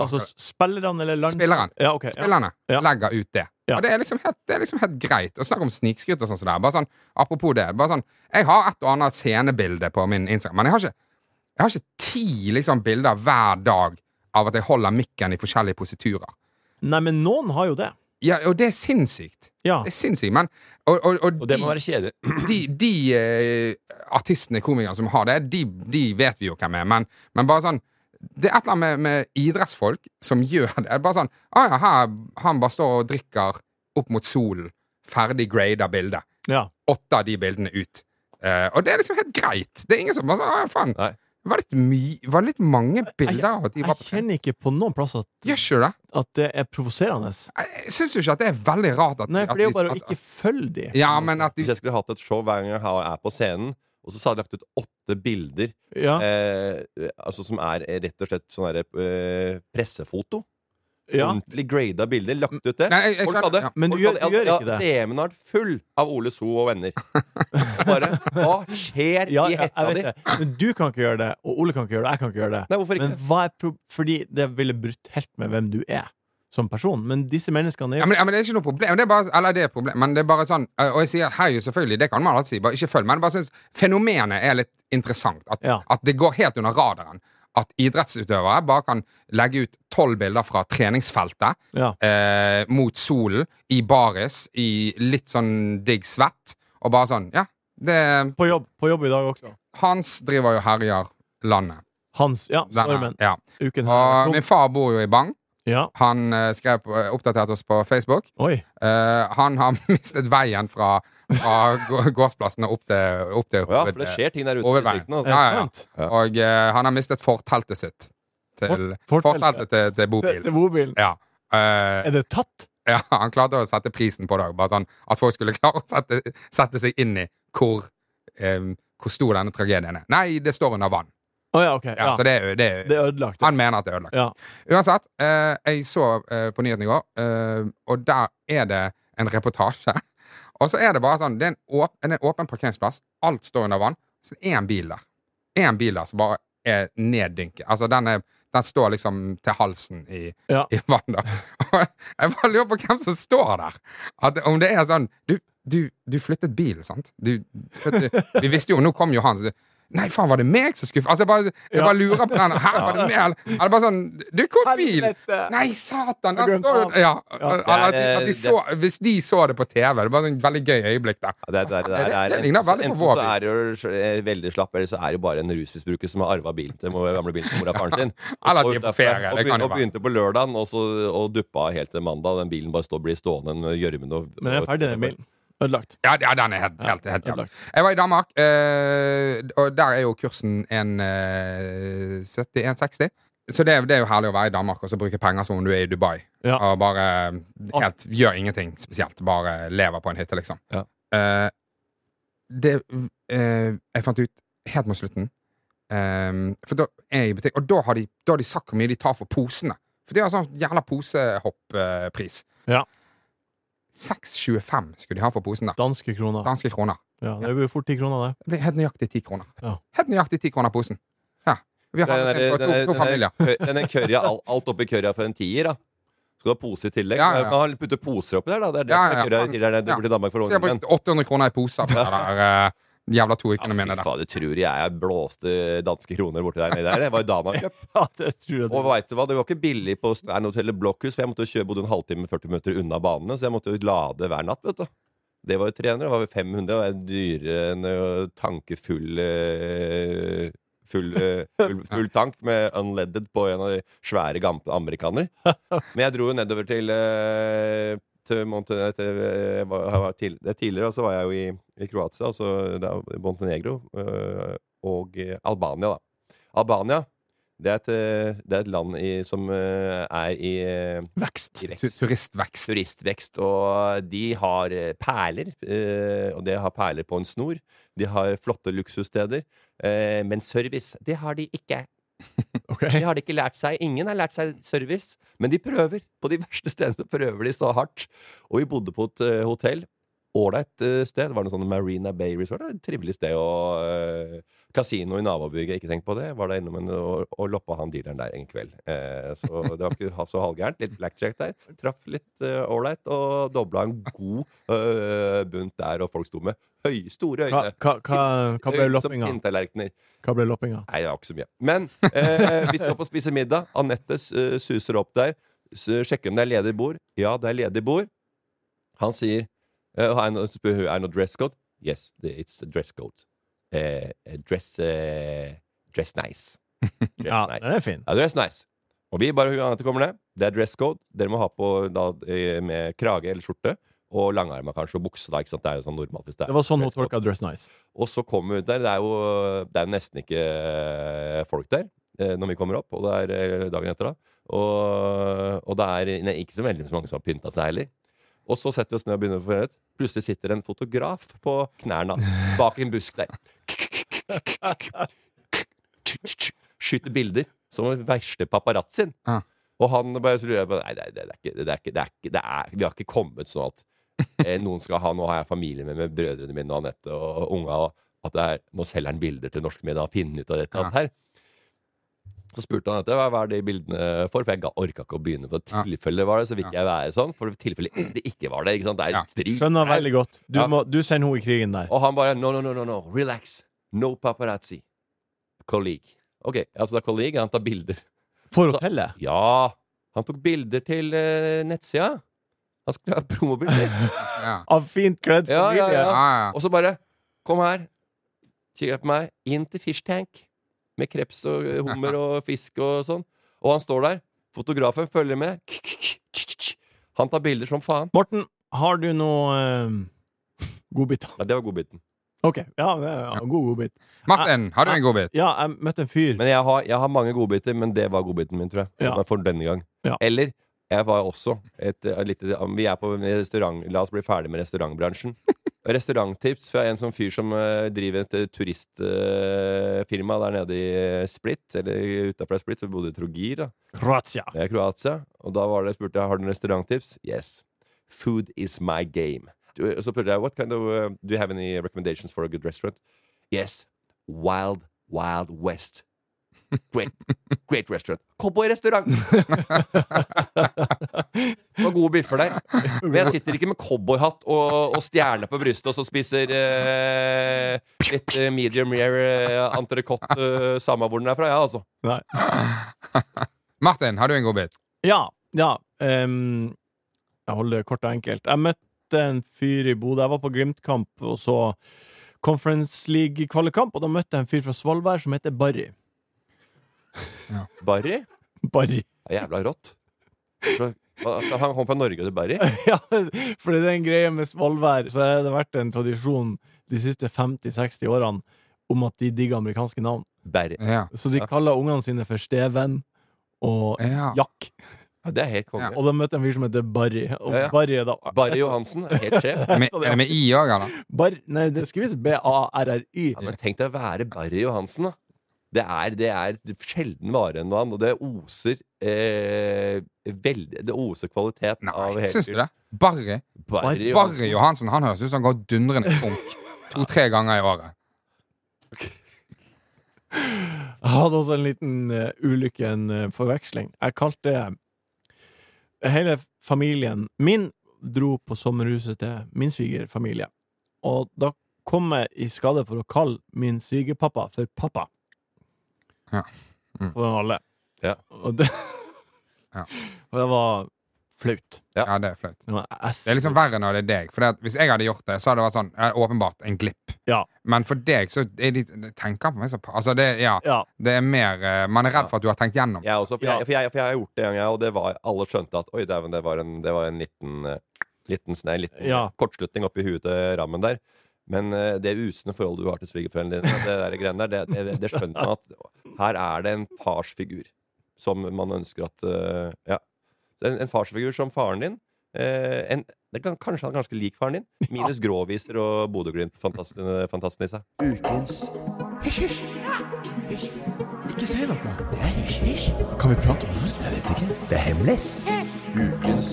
S1: altså
S3: sparker-
S1: spillerne eller land...
S3: Spilleren.
S1: Ja, ok. Ja.
S3: Spillerne
S1: Ja.
S3: legger ut det.
S1: Ja.
S3: Og det er, liksom helt, det er liksom helt greit å snakke om snikskryt og sånn. som det er. Bare sånn, apropos det. Bare sånn, jeg har et og annet scenebilde på min Instagram, men jeg har ikke, jeg har ikke ti liksom, bilder hver dag av at jeg holder mikken i forskjellige positurer.
S1: Nei, men noen har jo det.
S3: Ja, og det er sinnssykt.
S1: Ja.
S3: Det er sinnssykt, men Og, og, og,
S2: Og det
S3: de-
S2: må være kjedelig.
S3: de, de eh, artistene, komikerne som har det, de, de vet vi jo hvem er, men, men bare sånn Det er et eller annet med, med idrettsfolk som gjør det. Det er Bare sånn ah, ja, her, Han bare står og drikker opp mot solen. Ferdig grada bilde.
S1: Ja.
S3: Åtte av de bildene ut. Eh, og det er liksom helt greit. Det er ingen som bare sånn, ah, faen.
S2: Nei.
S3: Det var litt, my, var litt mange bilder. av at de var
S1: Jeg
S3: på trening.
S1: kjenner ikke på noen plass at,
S3: Gjør ikke du det?
S1: at det er provoserende.
S3: Jeg- Jeg syns jo ikke at det er veldig rart at
S1: Nei,
S3: at
S1: for det er jo
S3: de-
S1: bare å
S3: at-
S1: ikke følge de.
S3: Ja, men at de
S2: Hvis jeg skulle hatt et show hver gang jeg har- er på scenen, og så hadde jeg lagt ut åtte bilder
S1: Ja,
S2: eh, altså som er eh, rett og slett sånn derre eh, pressefoto.
S1: ja.
S2: Ordentlig grada bilder. Lagt ut det.
S3: Nei, jeg- jeg
S2: Folk
S3: skjønner-
S2: hadde,
S3: ja.
S1: Men du
S2: folk
S1: gjør-
S2: hadde-
S1: du gjør
S2: ja,
S1: ikke det.
S2: DM'en har vært full av Ole So og
S1: *laughs*
S2: venner. Bare Hva skjer
S1: Ja,
S2: i
S1: ja, jeg
S2: hetta di?
S1: vet det. Men du kan ikke gjøre det, og Ole kan ikke gjøre det, jeg kan ikke gjøre det.
S2: Nei, hvorfor ikke?
S1: Men hva er pro fordi det ville brutt helt med hvem du er som person. Men disse menneskene
S3: Ja
S1: er jo
S3: men, ja, men det er ikke noe problem. Det er bare, eller det er et problem, men det er bare sånn eh, Og jeg sier hei, jo, selvfølgelig, det kan man alltid si, bare ikke følg. Men jeg bare synes fenomenet er litt interessant. At,
S1: Ja.
S3: at det går helt under radaren. At idrettsutøvere bare kan legge ut tolv bilder fra treningsfeltet
S1: Ja.
S3: eh, mot solen, i baris, i litt sånn digg svett, og bare sånn Ja, det
S1: på jobb, på jobb i dag også.
S3: Hans driver jo og herjer landet.
S1: Hans Ja,
S3: Den er-
S1: Stormen.
S3: ja.
S1: Uken her.
S3: Og min far bor jo i Bang.
S1: Ja.
S3: Han eh, skrev, på- oppdaterte oss på Facebook.
S1: Oi.
S3: Eh, han har *laughs* mistet veien fra, fra gå- gårdsplassen og opp til, opp til
S2: Å Ja, for det skjer ting der ute i
S3: Overveien.
S1: Er
S2: distriktene. Altså.
S1: det
S3: Ja, ja, ja.
S1: sant?
S3: Og eh, han har mistet forteltet sitt. Til,
S1: For- forteltet?
S3: forteltet til, til
S1: Til
S3: bobil.
S1: mobilen.
S3: Ja. Eh,
S1: Er det tatt?
S3: ja, han klarte å sette prisen på det. Bare sånn at folk skulle *laughs* klare å sette, sette seg inn i hvor, eh, hvor stor denne tragedien er. Nei, det står under vann.
S1: Å ja, ok.
S3: Ja,
S1: Ja.
S3: Så det er, jo- det er,
S1: Det
S3: jo-
S1: er ødelagt.
S3: han mener at det er ødelagt.
S1: Ja.
S3: Uansett, eh, jeg så eh, på nyheten i går, eh, og der er det en reportasje. *laughs* Og så er det bare sånn, det er en, åp en åpen parkeringsplass, alt står under vann, så det er en bil der. En bil der som bare er neddynket. Altså, den, er, den står liksom til halsen i,
S1: Ja.
S3: i vann da. Og *laughs* jeg bare lurer på hvem som står der. At, om det er sånn, du, du, du flyttet bil, sant? Du, du, vi visste jo, nå kom jo han, så du, Nei, faen, var det meg som skulle... Altså, jeg bare, jeg bare lurer på den her, var det meg? eller- Eller bare sånn, du, hvor er bil?
S1: Helvete.
S3: Nei, satan!
S1: Har
S3: Der
S1: glemt
S3: står jo
S1: av.
S3: ja,
S1: Ja.
S3: eller at de,
S2: Det er,
S3: at de
S2: eh,
S3: så, Hvis de så det på TV, det var et veldig gøy øyeblikk der.
S2: Ja, Det, er- det, er- det, er-
S3: Det- det
S2: enten
S3: ligner
S2: så-
S3: veldig på
S2: enten
S3: vår
S2: så er det jo eh, veldig slapp, eller så er det jo bare en rusmisbruker som har arva bilen til mor- gamle bilen til mor og faren
S3: *laughs*
S2: sin. Og
S3: Eller
S2: står
S3: de er på
S2: utenfor,
S3: ferie,
S2: og
S3: det kan
S2: begyn-
S3: jo
S2: Og
S3: være.
S2: begynte på lørdagen, og så og duppa helt til mandag. Den bilen bare står, blir stående en gjørme. og-
S1: Men den er ferdig, den bilen. Ødelagt.
S3: Ja, ja den er helt, helt, helt jævlig.
S1: Ødelagt.
S3: Jeg var i Danmark, eh, og der er jo kursen en eh, 70-160. Så det, er- det er jo herlig å være i Danmark og så bruke penger som om du er i Dubai.
S1: Ja. Ah.
S3: Og bare helt, gjør ingenting spesielt. Bare lever på en hytte, liksom.
S2: Ja.
S3: Eh, det eh, jeg fant ut helt mot slutten eh, For da er jeg i butikk, og da har, de, da har de sagt hvor mye de tar for posene. For de har sånn jævla posehopp-pris.
S1: Ja.
S3: 6,25 skulle de ha for posen der.
S1: Danske kroner.
S3: Danske kroner.
S1: Ja, det blir fort ti kroner, det. *laughs*
S3: Det er Helt nøyaktig ti kroner.
S1: Ja.
S3: Helt nøyaktig ti kroner posen. Ja. Vi har
S2: Den
S3: handlet
S2: der-
S3: inn på
S2: den
S3: to,
S2: der-
S3: to
S2: den
S3: familier.
S2: der kø- den der currya, alt, alt oppi currya for en tier, da. Skal du ha pose i tillegg?
S3: Ja, ja, ja.
S2: Du kan ha- putte poser oppi der, da. Det er det
S3: Ja,
S2: som er
S3: ja, ja.
S2: currya i tillegg. Det er det du
S3: Ja.
S2: går til Danmark for
S3: Så jeg
S2: ungen. *laughs*
S3: brukte 800 kroner i poser på det der, eh, De jævla to ukene
S2: Fy
S3: mine der.
S2: faen, du tror jeg jeg blåste danske kroner borti der nede der? Det var jo Dana Cup.
S1: Ja, det tror jeg
S2: Og
S1: det.
S2: vet du hva, det var ikke billig på Sternhotellet Blokkhus, for jeg måtte jo kjøre bodde en halvtime 40 minutter unna banene, så jeg måtte jo lade hver natt, vet du. Det var jo 300, det var jo 500, og det er dyrere enn ø, tankefull ø, eh, Full, ø, full, full tank med unleaded på en av de svære gamle amerikanere. Men jeg dro jo nedover til, ø, til Monte- til, ø, jeg var, jeg var til, det er Tidligere så var jeg jo i, i Kroatia, altså det er Montenegro, ø, og ø, Albania, da. Albania det er et, eh, det er et land i, som eh, er i, eh,
S1: Vekst.
S2: i
S3: Tu-
S2: vekst.
S3: Turistvekst.
S2: Turistvekst. Og de har eh, perler, eh, og det har perler på en snor. De har flotte luksussteder. eh, Men service, det har de ikke.
S1: Ok.
S2: De har det ikke lært seg. Ingen har lært seg service, men de prøver. På de verste stedene så prøver de så hardt. Og vi bodde på et eh, hotell. Ålreit eh, sted. Det var noe sånn Marina Bay Resort. Det var et trivelig sted. Og eh, kasino i nabobygget. Ikke tenkt på det. Var der innom en, og, og loppa han dealeren der en kveld. Eh, så det var ikke ha- så halvgærent. Litt blackjack der. Traff litt eh, ålreit og dobla en god eh, bunt der, og folk sto med høy, store
S1: Hva,
S2: øyne.
S1: hva, hva, hva ble
S2: Øyne som
S1: loppinga?
S2: pinntallerkener.
S1: Hva ble loppinga?
S2: Nei, det var ikke så mye. Men eh, vi skal på å spise middag. Anette eh, suser opp der. s- Sjekker om det er ledig bord. Ja, det er ledig bord. Han sier eh, «Har jeg noe- spør hun, Er det noe dress code? Yes, the- it's a dress code. Eh, eh, dress eh, Dress
S1: *laughs*
S2: nice. Dress
S1: Ja,
S2: nice.
S1: den er fin.
S2: Ja, dress nice. Og vi bare hun Anette kommer ned. Det er dress code. Dere må ha på da, eh, med krage eller skjorte. Og langarma kanskje, og bukse. da, ikke sant? Det er jo sånn normalt hvis det er
S1: Det var sånn hun
S2: dress code.
S1: tolka Dress Nice.
S2: Og så kommer vi ut der. Det er jo det er jo nesten ikke eh, folk der eh, når vi kommer opp, og det er eh, dagen etter, da. Og, og det er nei, ikke så veldig mange som har pynta seg heller. Og så setter vi oss ned og begynner å forhøre. Plutselig sitter en fotograf på knærne bak en busk der. Skyter bilder som den verste paparazzoen.
S3: Ja.
S2: Og han bare så lurer jeg på Nei, det, det, det, er ikke, det er ikke, det er ikke det er, Vi har ikke kommet sånn at eh, noen skal ha Nå har jeg familie med, med brødrene mine og Anette og unga, og at det er, nå selger han bilder til norske medier og har funnet ut av dette
S3: Ja.
S2: og alt her. Så spurte han etter hva hva er de bildene for, for jeg ga- orka ikke å begynne på
S3: Ja.
S2: tilfelle var det, så vil ikke jeg være sånn. For i tilfelle det ikke var det. ikke sant? Det er
S3: Ja.
S2: strid.
S1: Skjønner
S2: Nei.
S1: veldig godt. Du,
S2: Ja.
S1: må, du sender henne i krigen der.
S2: Og han bare no, no, no, no, no, relax. No paparazzi. Colleague. Ok, altså det er colleague, han tar bilder.
S1: For hotellet.
S2: Ja, han tok bilder til eh, nettsida. Han skulle ha *laughs* promobilder.
S3: Ja.
S1: Av fint kledd
S2: Ja, ja,
S1: familie.
S3: Ja,
S2: ja.
S3: ja, ja.
S2: Og så bare Kom her. Kikk på meg. Inn til fish tank. Med kreps og eh, hummer og fisk og sånn. Og han står der. Fotografen følger med. Han tar bilder som faen.
S1: Morten, har du noe *laughs* eh, godbiter?
S2: Nei, det var godbiten.
S1: OK. Ja, det er, ja, god godbit.
S3: Martin, har du en godbit?
S1: Ja, jeg møtte en fyr.
S2: Men jeg har, jeg har mange godbiter, men det var godbiten min, tror jeg.
S1: Ja.
S2: For denne gang.
S1: Ja.
S2: Eller jeg var også et, et lite Vi er på en restaurant La oss bli ferdig med
S1: *laughs*
S2: restaurantbransjen. Restauranttips fra en sånn fyr som eh, driver et turistfirma der nede i eh, Split, eller utafor Split, så vi bodde i Trogir, da.
S1: Kroatia.
S2: Det er Kroatia. Og da var det, spurte jeg har du noen restauranttips. Yes. Food is my game. Du- Og så spurte jeg what kind of, uh, do you have any recommendations for a good restaurant. Yes. Wild Wild West. Great, great restaurant. Cowboyrestaurant! Det var gode biffer der. Men jeg sitter ikke med cowboyhatt og, og stjerne på brystet og så spiser eh, litt eh, medium rare eh, entrecôte, eh, samme hvor den er fra, ja, altså.
S1: Nei.
S3: Martin, har du en godbit?
S1: Ja, ja. ehm, jeg holder det kort og enkelt. Jeg møtte en fyr i Bodø. Jeg var på Glimt-kamp og så Conference League-kvalikamp, og da møtte jeg en fyr fra Svolvær som heter Barry.
S2: Barry?
S1: Barry.
S2: Det er jævla rått. Fra- hva- Han kom fra Norge til Berry?
S1: *laughs* ja, for det er en greie med Svolvær, så har det vært en tradisjon de siste 50-60 årene om at de digger amerikanske navn.
S2: Berry.
S3: Ja.
S1: Så de kaller ungene sine for Steven og
S3: Ja.
S1: Jack.
S2: Ja, det er helt konge.
S3: Ja.
S1: Og da møtte jeg en fyr som heter Barry. Og
S2: Ja, ja.
S1: Barry er da
S2: Barry Johansen er helt
S3: *laughs*
S2: sjef.
S3: Med, er det med i òg, eller?
S1: Bar, Nei, det skrives B-A-R-R-Y.
S2: Ja, men tenk deg å være Barry Johansen, da. Det er, det er sjelden vare enn noe annet, og det oser eh, veldig Det oser kvalitet av
S3: Nei,
S2: helt
S3: syns du det? Barry
S2: Barry
S3: Barry
S2: Johansen.
S3: Johansen han høres ut som han går dundrende
S2: *laughs*
S3: konk to-tre ganger i året.
S1: Jeg hadde også en liten eh, ulykke, en eh, forveksling. Jeg kalte eh, hele familien min dro på sommerhuset til min svigerfamilie. Og da komme i skade for å kalle min svigerpappa for pappa.
S3: Ja. Mm.
S1: For alle.
S2: Ja.
S1: Og det,
S3: Ja.
S1: *laughs* og det var flaut.
S2: Ja.
S3: Ja, det er flaut.
S1: Det var ass-
S3: Det er liksom verre når det er deg. For det at hvis jeg hadde gjort det, så hadde det vært sånn ja, åpenbart en glipp.
S1: Ja.
S3: Men for deg, så er de, de tenker på meg så pa- Altså, det, ja,
S1: ja.
S3: det er mer eh, Man er redd for at du har tenkt gjennom.
S2: Jeg også, for,
S1: Ja.
S2: jeg, for, jeg, for jeg har gjort det en gang, jeg, og det var, alle skjønte at Oi, dæven, det var en, det var en liten, eh, liten, sne- liten
S1: Ja.
S2: kortslutning oppi huet til rammen der. Men eh, det usne forholdet du har til svigerforeldrene dine, det der greiene der, det, det, det skjønte man at her er det en farsfigur som man ønsker at eh, Ja. Så En, en farsfigur som faren din. eh, en, det kan, kanskje han er ganske lik faren din. Minus gråviser og Bodø-Glimt-fantastenissa.
S4: Ikke si noe. Det er hysj, hysj. Kan vi prate om det? Jeg vet ikke. Det er hemmelig. Ukens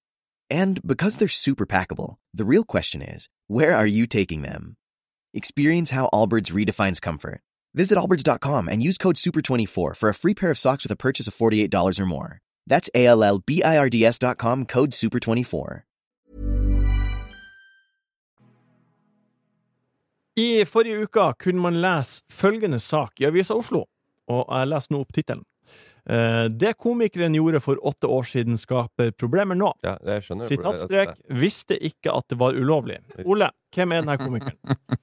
S5: And because they're super packable, the real question is where are you taking them? Experience how Allbirds redefines comfort. Visit Allbirds.com and use code SUPER24 for a free pair of socks with a purchase of $48 or more. That's A L L B I R D S.com code SUPER24.
S1: I forrige uke kunne man lese følgende sak i Avisa Oslo, og jeg leser nå opp tittelen. Eh, Det komikeren gjorde for åtte år siden, skaper problemer nå.
S2: Ja, jeg skjønner.
S1: Sitatstrek visste ikke at det var ulovlig. Ole, hvem er denne komikeren?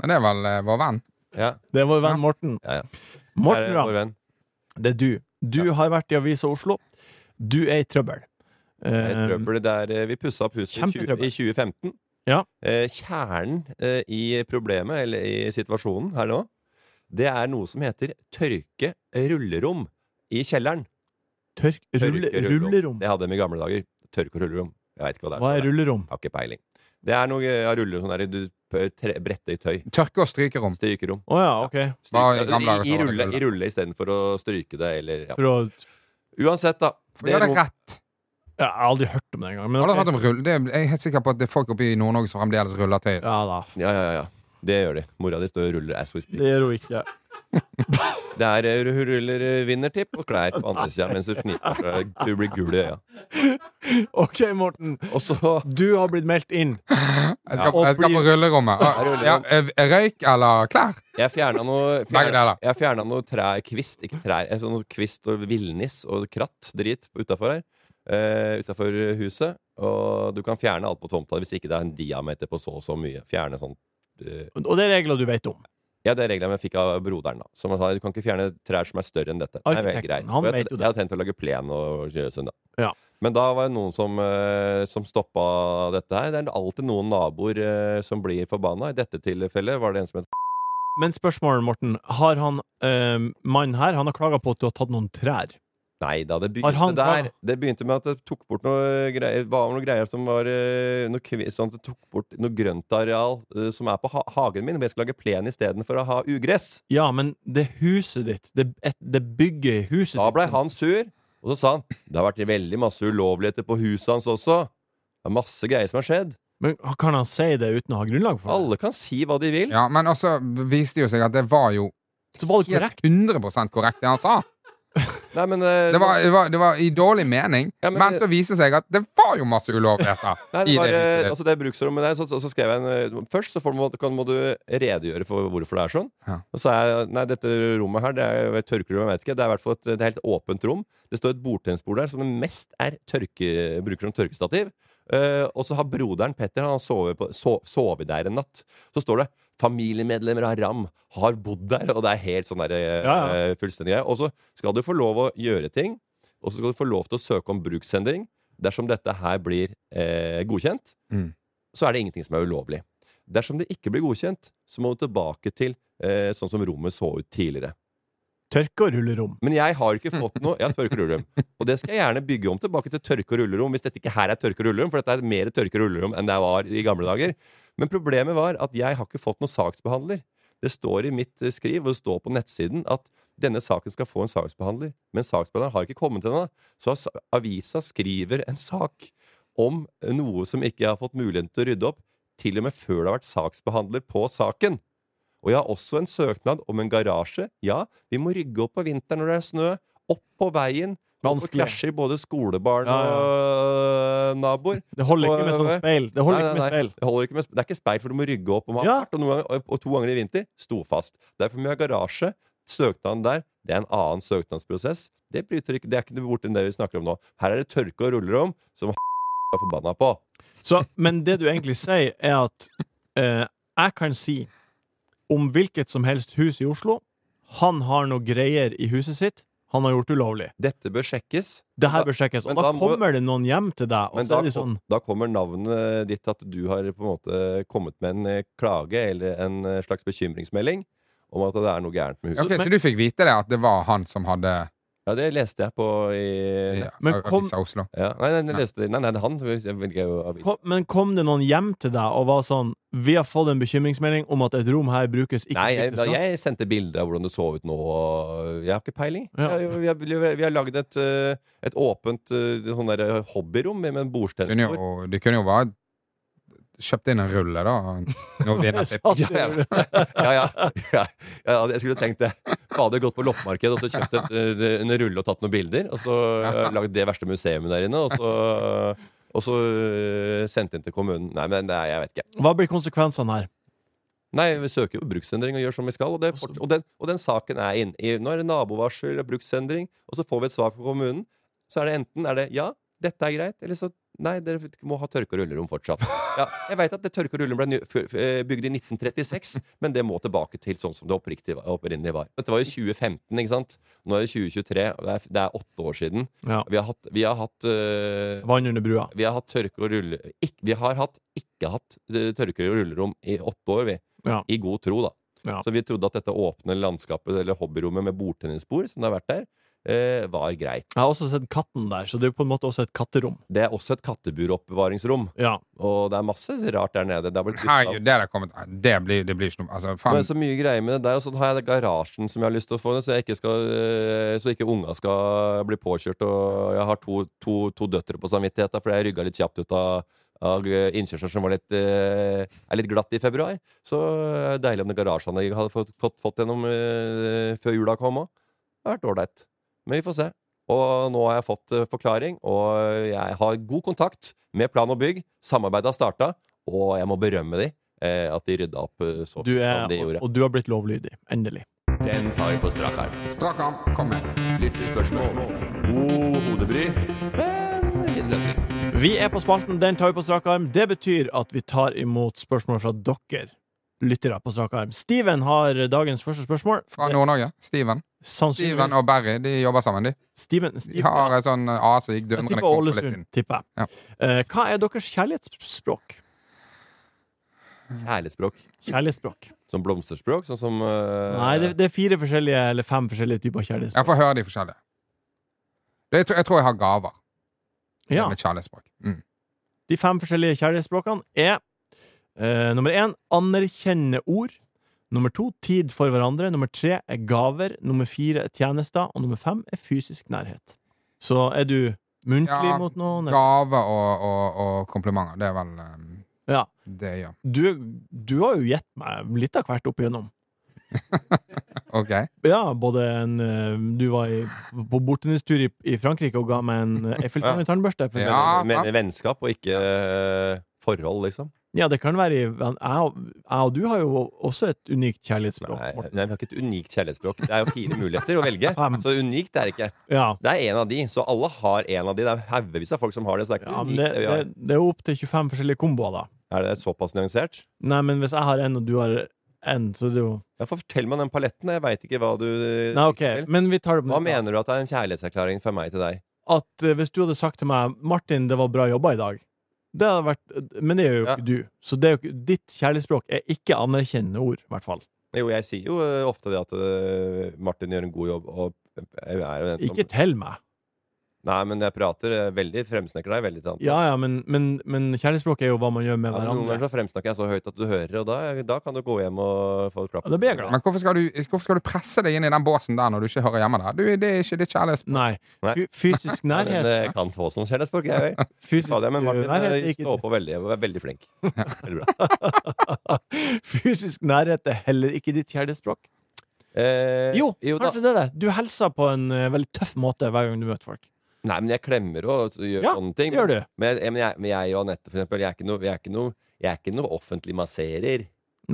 S3: Men det er vel eh, vår venn.
S2: Ja,
S1: Det er vår venn Morten.
S2: Ja, ja. her
S1: Morten
S2: er
S1: Ramm,
S2: vår venn.
S1: det er du. Du har vært i Avisa Oslo. Du er i trøbbel.
S2: Det er et
S1: Eh,
S2: trøbbel der eh, vi pussa opp huset i tjue-
S1: Kjempetrøbbel.
S2: i 2015.
S1: Ja.
S2: Eh, Kjernen eh, i problemet, eller i situasjonen her nå, det er noe som heter tørke rullerom i kjelleren.
S1: Tørk, rulle,
S2: Tørke
S1: rullerom.
S2: Det hadde de i gamle dager. Tørke og rullerom. Jeg veit ikke hva det er.
S1: Hva er rullerom?
S2: Har ikke peiling. Det er noe eh, av rullerom sånn der du p- tre- bretter i tøy.
S3: Tørke- og strykerom.
S2: Strykerom.
S1: Å ja, ok.
S2: Stryke-
S3: Hva i
S2: altså,
S3: gamle dager
S2: I, i
S3: så var det
S2: rulle,
S3: rulle.
S2: i rulle istedenfor å stryke det, eller ja.
S1: For å
S2: Uansett, da.
S3: For å gjøre
S2: rom-
S3: det rett.
S1: Jeg har aldri hørt om det engang. Men
S3: Alle
S1: ok.
S3: har hørt om rull. Det er, jeg er helt sikker på at det er folk oppe i Nord-Norge som fremdeles ruller tøy.
S1: Ja da.
S2: Ja, ja, ja, ja. Det gjør de. Mora di står og ruller ass we speak.
S1: Det gjør hun ikke.
S2: Det er eh, hun ruller eh, vinnertipp og klær på andre sida mens du sniper så du blir gul i øya.
S1: *laughs* OK, Morten.
S2: Og så
S1: Du har blitt meldt inn.
S3: Jeg skal,
S1: og
S3: jeg skal på
S1: blir-
S3: rullerommet. Ah, Ja, eh, røyk eller klær?
S2: Jeg fjerna noe
S3: Begge deler.
S2: Jeg fjerna noe trær, kvist, ikke trær, eh, sånn kvist og villnis og kratt, drit, utafor her. Uh, utafor huset. Og du kan fjerne alt på tomta hvis ikke det er en diameter på så og så mye. Fjerne sånn eh,
S1: Og det er regler du vet om.
S2: Ja, det er reglene jeg fikk av broderen. da Som han sa, Du kan ikke fjerne trær som er større enn dette. Nei, vel,
S1: Arkitekten,
S2: greit.
S1: han
S2: Og jeg,
S1: vet jo det.
S2: jeg hadde tenkt å lage plen og gjøre sånn, da.
S1: Ja.
S2: Men da var det noen som, eh, som stoppa dette her. Det er alltid noen naboer eh, som blir forbanna. I dette tilfellet var det en som het
S1: Men spørsmålet, Morten. Har han eh, mannen her Han har klaga på at du har tatt noen trær.
S2: Nei da, det
S1: Har
S2: begynte
S1: han-
S2: der. Det begynte med at det tok bort noe greier, var noe greier som var eh, noe, kvi- sånn, at Det tok bort noe grøntareal eh, som er på ha hagen min, hvor jeg skal lage plen istedenfor å ha ugress.
S1: Ja, men det huset ditt Det, et, det bygget i huset
S2: Da ble
S1: ditt
S2: han sur, og så sa han Det har vært veldig masse ulovligheter på huset hans også. Det er masse greier som har skjedd.
S1: Men kan han si det uten å ha grunnlag for det?
S2: Alle kan si hva de vil.
S3: Ja, men også viste det jo seg at det var jo
S1: Så var det
S3: helt
S1: korrekt.
S3: 100 korrekt, det han sa.
S2: Nei, men, eh,
S3: Det var, det var, det var i dårlig mening,
S2: Ja, men
S3: men,
S2: det-
S3: så viste det seg at det var jo masse ulovligheter
S2: Nei,
S3: i
S2: det, var,
S3: det
S2: eh,
S3: huset.
S2: altså det bruksrommet der, så, så, så skrev jeg en eh, Først så får, må, kan, må du redegjøre for hvorfor det er sånn.
S3: Ja.
S2: Og så sa jeg nei, dette rommet her, det er et tørkerom, jeg vet ikke. Det er i hvert fall et, det er helt åpent rom. Det står et bordtennisbord der som det mest er tørke, bruker som tørkestativ. Eh, og så har broderen Petter han har sovet, på, so, sovet der en natt. Så står det 'Familiemedlemmer av Ram har bodd der', og det er helt sånn der, eh,
S1: Ja, ja.
S2: eh, fullstendig greie. Og så skal du få lov å gjøre ting, og så skal du få lov til å søke om bruksendring dersom dette her blir eh, godkjent,
S3: Mm.
S2: så er det ingenting som er ulovlig. Dersom det ikke blir godkjent, så må du tilbake til eh, sånn som rommet så ut tidligere.
S1: Tørke og rullerom.
S2: Men jeg har ikke fått noe Jeg har tørke- og rullerom. Og det skal jeg gjerne bygge om tilbake til tørke- og rullerom, hvis dette ikke her er tørke- og rullerom, for dette er mer tørke- og rullerom enn det var i gamle dager. Men problemet var at jeg har ikke fått noen saksbehandler. Det står i mitt eh, skriv, og det står på nettsiden, at denne saken skal få en saksbehandler. Men saksbehandleren har ikke kommet ennå. Så as- avisa skriver en sak om eh, noe som ikke har fått muligheten til å rydde opp, til og med før det har vært saksbehandler på saken. Og jeg har også en søknad om en garasje. Ja, vi må rygge opp på vinteren når det er snø. Opp på veien. Og
S1: Vanskelig.
S2: krasjer både skolebarn
S1: Ja, ja.
S2: og øh, naboer.
S1: Det holder ikke med sånn speil. Det holder
S2: Nei,
S1: ikke med
S2: nei, nei.
S1: speil.
S2: Det holder ikke med sp- Det er ikke speil, for du må rygge opp om
S1: Ja.
S2: hardt. Og, noen ganger, og to ganger i vinter sto fast. Derfor må vi ha garasje. Søknaden der, det er en annen søknadsprosess. Det bryter ikke, det er ikke noe borti det vi snakker om nå. Her er det tørke og rullerom, som *laughs* er forbanna på.
S1: Så, men det du egentlig sier, er at eh, jeg kan si om hvilket som helst hus i Oslo Han har noe greier i huset sitt han har gjort ulovlig.
S2: Dette bør sjekkes.
S1: Det her
S2: Da-
S1: bør sjekkes. Og
S2: men
S1: da
S2: da må-
S1: kommer det noen hjem til deg, og
S2: Men
S1: så
S2: da,
S1: er de
S2: ko-
S1: sånn
S2: da kommer navnet ditt at du har på en måte kommet med en eh, klage eller en eh, slags bekymringsmelding om at det er noe gærent med huset.
S3: Ok, Så du fikk vite det, at det var han som hadde
S2: Ja, det leste jeg på i
S3: ja,
S1: Men kom-
S3: Avisa Oslo?
S2: ja. Nei, nei, det leste, nei, nei, det er han. Jeg velger jo avis.
S1: Kom, men kom det noen hjem til deg og var sånn Vi har fått en bekymringsmelding om at et rom her brukes ikke
S2: Nei, jeg,
S1: slik det
S2: da,
S1: skal».
S2: jeg sendte bilder av hvordan det så ut nå. Og jeg har ikke peiling.
S1: Ja.
S2: Jeg, vi har, vi har lagd et, eh, et åpent eh, sånn der hobbyrom med en bordstenn.
S3: Kunne jo, du kunne jo bare kjøpt inn en rulle, da. og Nå
S1: *laughs*
S3: vinner jeg.
S1: Satt i
S2: *laughs* Ja, ja.
S1: rullet.
S2: ja, ja. ja, ja jeg skulle tenkt det. Fader, gått på loppemarked og så kjøpt et, eh, en rulle og tatt noen bilder. Og så
S1: *laughs*
S2: eh, lagd det verste museet der inne. Og så, og så eh, sendt inn til kommunen. Nei, men nei, jeg vet ikke.
S1: Hva blir konsekvensene her?
S2: Nei, vi søker jo bruksendring og gjør som vi skal. Og, det, fort- og, den, og den saken er inn. i- Nå er det nabovarsel og bruksendring, og så får vi et svar fra kommunen. Så er det enten er det ja, dette er greit, eller så Nei, dere må ha tørke- og rullerom fortsatt. Ja, jeg veit at det tørke- og rullerom ble ny- f- f- eh, bygd i 1936, men det må tilbake til sånn som det oppriktig- opprinnelig var. Dette var jo 2015, ikke sant? Nå er det 2023, og det er, det er åtte år siden.
S1: Ja.
S2: Vi har hatt, vi har hatt eh,
S1: Vann under brua.
S2: vi har hatt tørke og rulle... Ikk, vi har hatt, ikke hatt eh, tørke og rullerom i åtte år, vi.
S1: Ja.
S2: I god tro, da.
S1: Ja.
S2: Så vi trodde at dette åpne landskapet, eller hobbyrommet med bordtennisbord, som det har vært der, eh, var greit.
S1: Jeg har også sett katten der, så det er jo på en måte også et katterom.
S2: Det er også et katteburoppbevaringsrom,
S1: Ja.
S2: og det er masse rart der nede. Det, har blitt-
S3: Herregud, det der kommet Det blir, det blir ikke noe altså,
S2: Men
S3: faen,
S2: det er så mye greier med det der, og så har jeg det garasjen som jeg har lyst til å få, så, jeg ikke skal, eh, så ikke unga skal bli påkjørt. Og jeg har to, to, to døtre på samvittigheten, for jeg rygga litt kjapt ut av, av eh, innkjørselen som var litt, eh, er litt glatt i februar. Så eh, deilig om det garasjeanlegget hadde fått, fått, fått gjennom eh, før jula kom òg. Det har vært ålreit. Men vi får se. Og nå har jeg fått eh, forklaring, og jeg har god kontakt med Plan og bygg. Samarbeidet har starta, og jeg må berømme de. eh, At de rydda opp eh, så
S1: Du er,
S2: som de gjorde.
S1: og, og du har blitt lovlydig. Endelig.
S2: Den tar vi på strak arm.
S3: Strak arm, kom med.
S2: Lyttespørsmål. God hodebry, men fin løsning.
S1: Vi er på spalten Den tar vi på strak arm. Det betyr at vi tar imot spørsmål fra dere lyttere på strak arm. Steven har dagens første spørsmål. Eh,
S3: Fra Nord-Norge. Steven. Steven
S1: Sannsynligvis
S3: og Barry de jobber sammen. De,
S1: Steven,
S3: de
S1: Steven
S3: har et sånn A som gikk
S1: Jeg
S3: dundrende
S1: tipper
S3: kropp på litt inn.
S1: Ålesund. Tipper jeg. Eh, hva er deres kjærlighetsspråk?
S2: Kjærlighetsspråk.
S1: Kjærlighetsspråk.
S2: Som blomsterspråk, sånn som eh,
S1: Nei, det, det er fire forskjellige eller fem forskjellige typer
S3: Jeg
S1: kjærlighetsspråk.
S3: får høre de forskjellige. Det, jeg, tror, jeg tror jeg har gaver.
S1: Ja,
S3: Med kjærlighetsspråk. Mm.
S1: De fem forskjellige kjærlighetsspråkene er eh, nummer én anerkjenne ord. Nummer to tid for hverandre. Nummer tre er gaver. Nummer fire er tjenester. Og nummer fem er fysisk nærhet. Så er du muntlig
S3: Ja,
S1: mot noen? eller-
S3: Gaver og, og, og komplimenter. Det er vel um,
S1: Ja.
S3: det jeg gjør.
S1: Du, du har jo gitt meg litt av hvert opp igjennom.
S3: Ok.
S1: Ja, både en eh, Du var i, på bordtennistur i, i Frankrike og ga meg en eh, Eiffeltårn-tannbørste. for-
S3: Ja.
S2: men, men vennskap og ikke eh, forhold, liksom.
S1: ja, det kan være i jeg, og- jeg og du har jo også et unikt kjærlighetsspråk.
S2: Nei,
S1: Morten.
S2: nei, vi har ikke et unikt kjærlighetsspråk. Det er jo fire muligheter å velge.
S1: Fem.
S2: Så unikt er det ikke.
S1: Ja,
S2: Det er en av de. Så alle har en av de. Det er haugevis av folk som har det. Så det er ikke
S1: ja men
S2: unikt.
S1: det,
S2: det vi
S1: det,
S2: har.
S1: det er jo opptil 25 forskjellige komboer, da.
S2: Er det såpass nyansert?
S1: Nei, men hvis jeg har en, og du har en, så det er jo
S2: Ja, for Fortell meg den paletten. Jeg veit ikke hva du
S1: Nei, OK, men vi tar det på
S2: Hva
S1: nytt, da.
S2: mener du at er en kjærlighetserklæring fra meg til deg?
S1: At eh, hvis du hadde sagt til meg 'Martin, det var bra jobba i dag' det hadde vært, Men det er jo
S2: Ja.
S1: ikke du. Så det er jo, ikke- ditt kjærlighetsspråk er ikke anerkjennende ord, i hvert fall.
S2: Jo, jeg sier jo eh, ofte det at eh, Martin gjør en god jobb, og jeg er jo den som
S1: Ikke til meg.
S2: Nei, men jeg prater eh, veldig, fremsnakker deg veldig. Sant?
S1: Ja, ja, men, men, men kjærlighetsspråk er jo hva man gjør med
S2: Ja, men noen
S1: hverandre.
S2: ganger så fremsnakker jeg så høyt at du hører, og da, da kan du gå hjem og få et klapp.
S1: Ja, da blir jeg glad.
S3: Men hvorfor skal, du, hvorfor skal du presse deg inn i den båsen der når du ikke hører hjemme der? Du, det er ikke ditt kjærlighets...
S1: Nei.
S2: *laughs* Nei.
S1: Fy- Fysisk
S2: Men eh,
S1: nærhet
S2: kan få sånn kjærlighetsspråk, jeg
S1: *laughs*
S2: òg.
S1: Fysisk
S2: Men Martin
S1: nærhet
S2: eh,
S1: er ikke-
S2: står på veldig og er veldig flink. Veldig bra.
S1: *laughs* Fysisk nærhet er heller ikke ditt kjærlighetsspråk.
S2: Eh,
S1: Jo,
S2: da.
S1: kanskje det er det. Du hilser på en eh, veldig tøff måte hver gang du møter folk.
S2: Nei, men jeg klemmer og så gjør
S1: Ja,
S2: sånne ting.
S1: det gjør du.
S2: Men, jeg- men, jeg, men jeg og Anette, for eksempel, jeg er ikke noe, jeg er ikke noe, jeg er ikke noe offentlig masserer.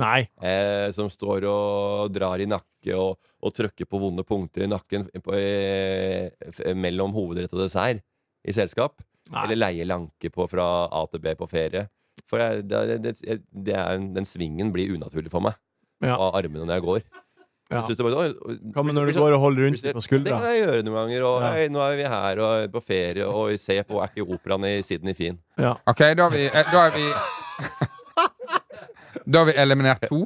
S1: Nei.
S2: eh, som står og drar i nakke og, og trykker på vonde punkter i nakken på, eh, f- mellom hovedrett og dessert i selskap.
S1: Nei.
S2: Eller leier lanke på fra A til B på ferie. For jeg, det, det, jeg- det er, en- den svingen blir unaturlig for meg.
S1: Ja.
S2: Av armene når jeg går.
S1: Ja.
S2: Jeg synes det bare, oi, oi,
S1: Hva med
S2: blir-
S1: når
S2: blir
S1: du
S2: så-
S1: går og holder
S2: blir
S1: rundt
S2: så-
S1: dem på
S2: Det
S1: skuldra?
S2: kan jeg gjøre noen ganger. Og
S1: Ja.
S2: «Hei, nå er vi her og på ferie, og se på Er ikke operaen i Sydney fin?
S1: Ja.
S3: Ok, da har vi, eh, da har vi Da har vi eliminert to.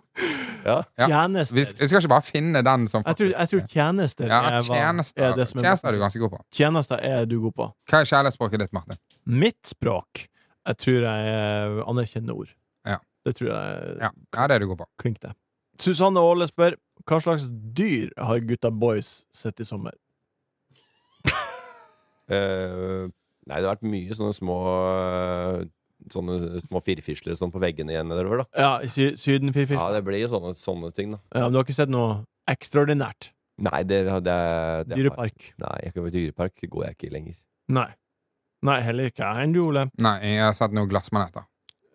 S3: Ja. Vi,
S1: Tjenester.
S3: vi skal ikke bare finne den som
S1: Jeg tror,
S3: faktisk-
S1: jeg tror tjenester
S3: ja,
S1: er, hva,
S3: tjenester,
S1: er det som er
S3: tjenester er du ganske god på.
S1: Tjenester er du god på.
S3: Hva er kjærlighetsspråket ditt, Martin?
S1: Mitt språk Jeg tror jeg eh, anerkjenner ord.
S3: Ja.
S1: Det tror jeg
S3: Ja, ja det er du god på.
S1: klink det. Susanne Aale spør hva slags dyr har gutta boys sett i sommer?
S2: Eh, nei, det har vært mye sånne små eh, Sånne små firfisler og sånn på veggene igjen nedover, da.
S1: Ja, i sy Syden
S2: Ja,
S1: 44.
S2: det blir jo sånne, sånne ting, da.
S1: Ja, men du har ikke sett noe ekstraordinært?
S2: Nei, det, det, det det-
S1: Dyrepark?
S2: Nei, jeg kan, dyrepark går jeg ikke lenger.
S1: Nei. Nei, heller ikke jeg enn du, Ole.
S3: Nei, jeg har sett noen glassmaneter.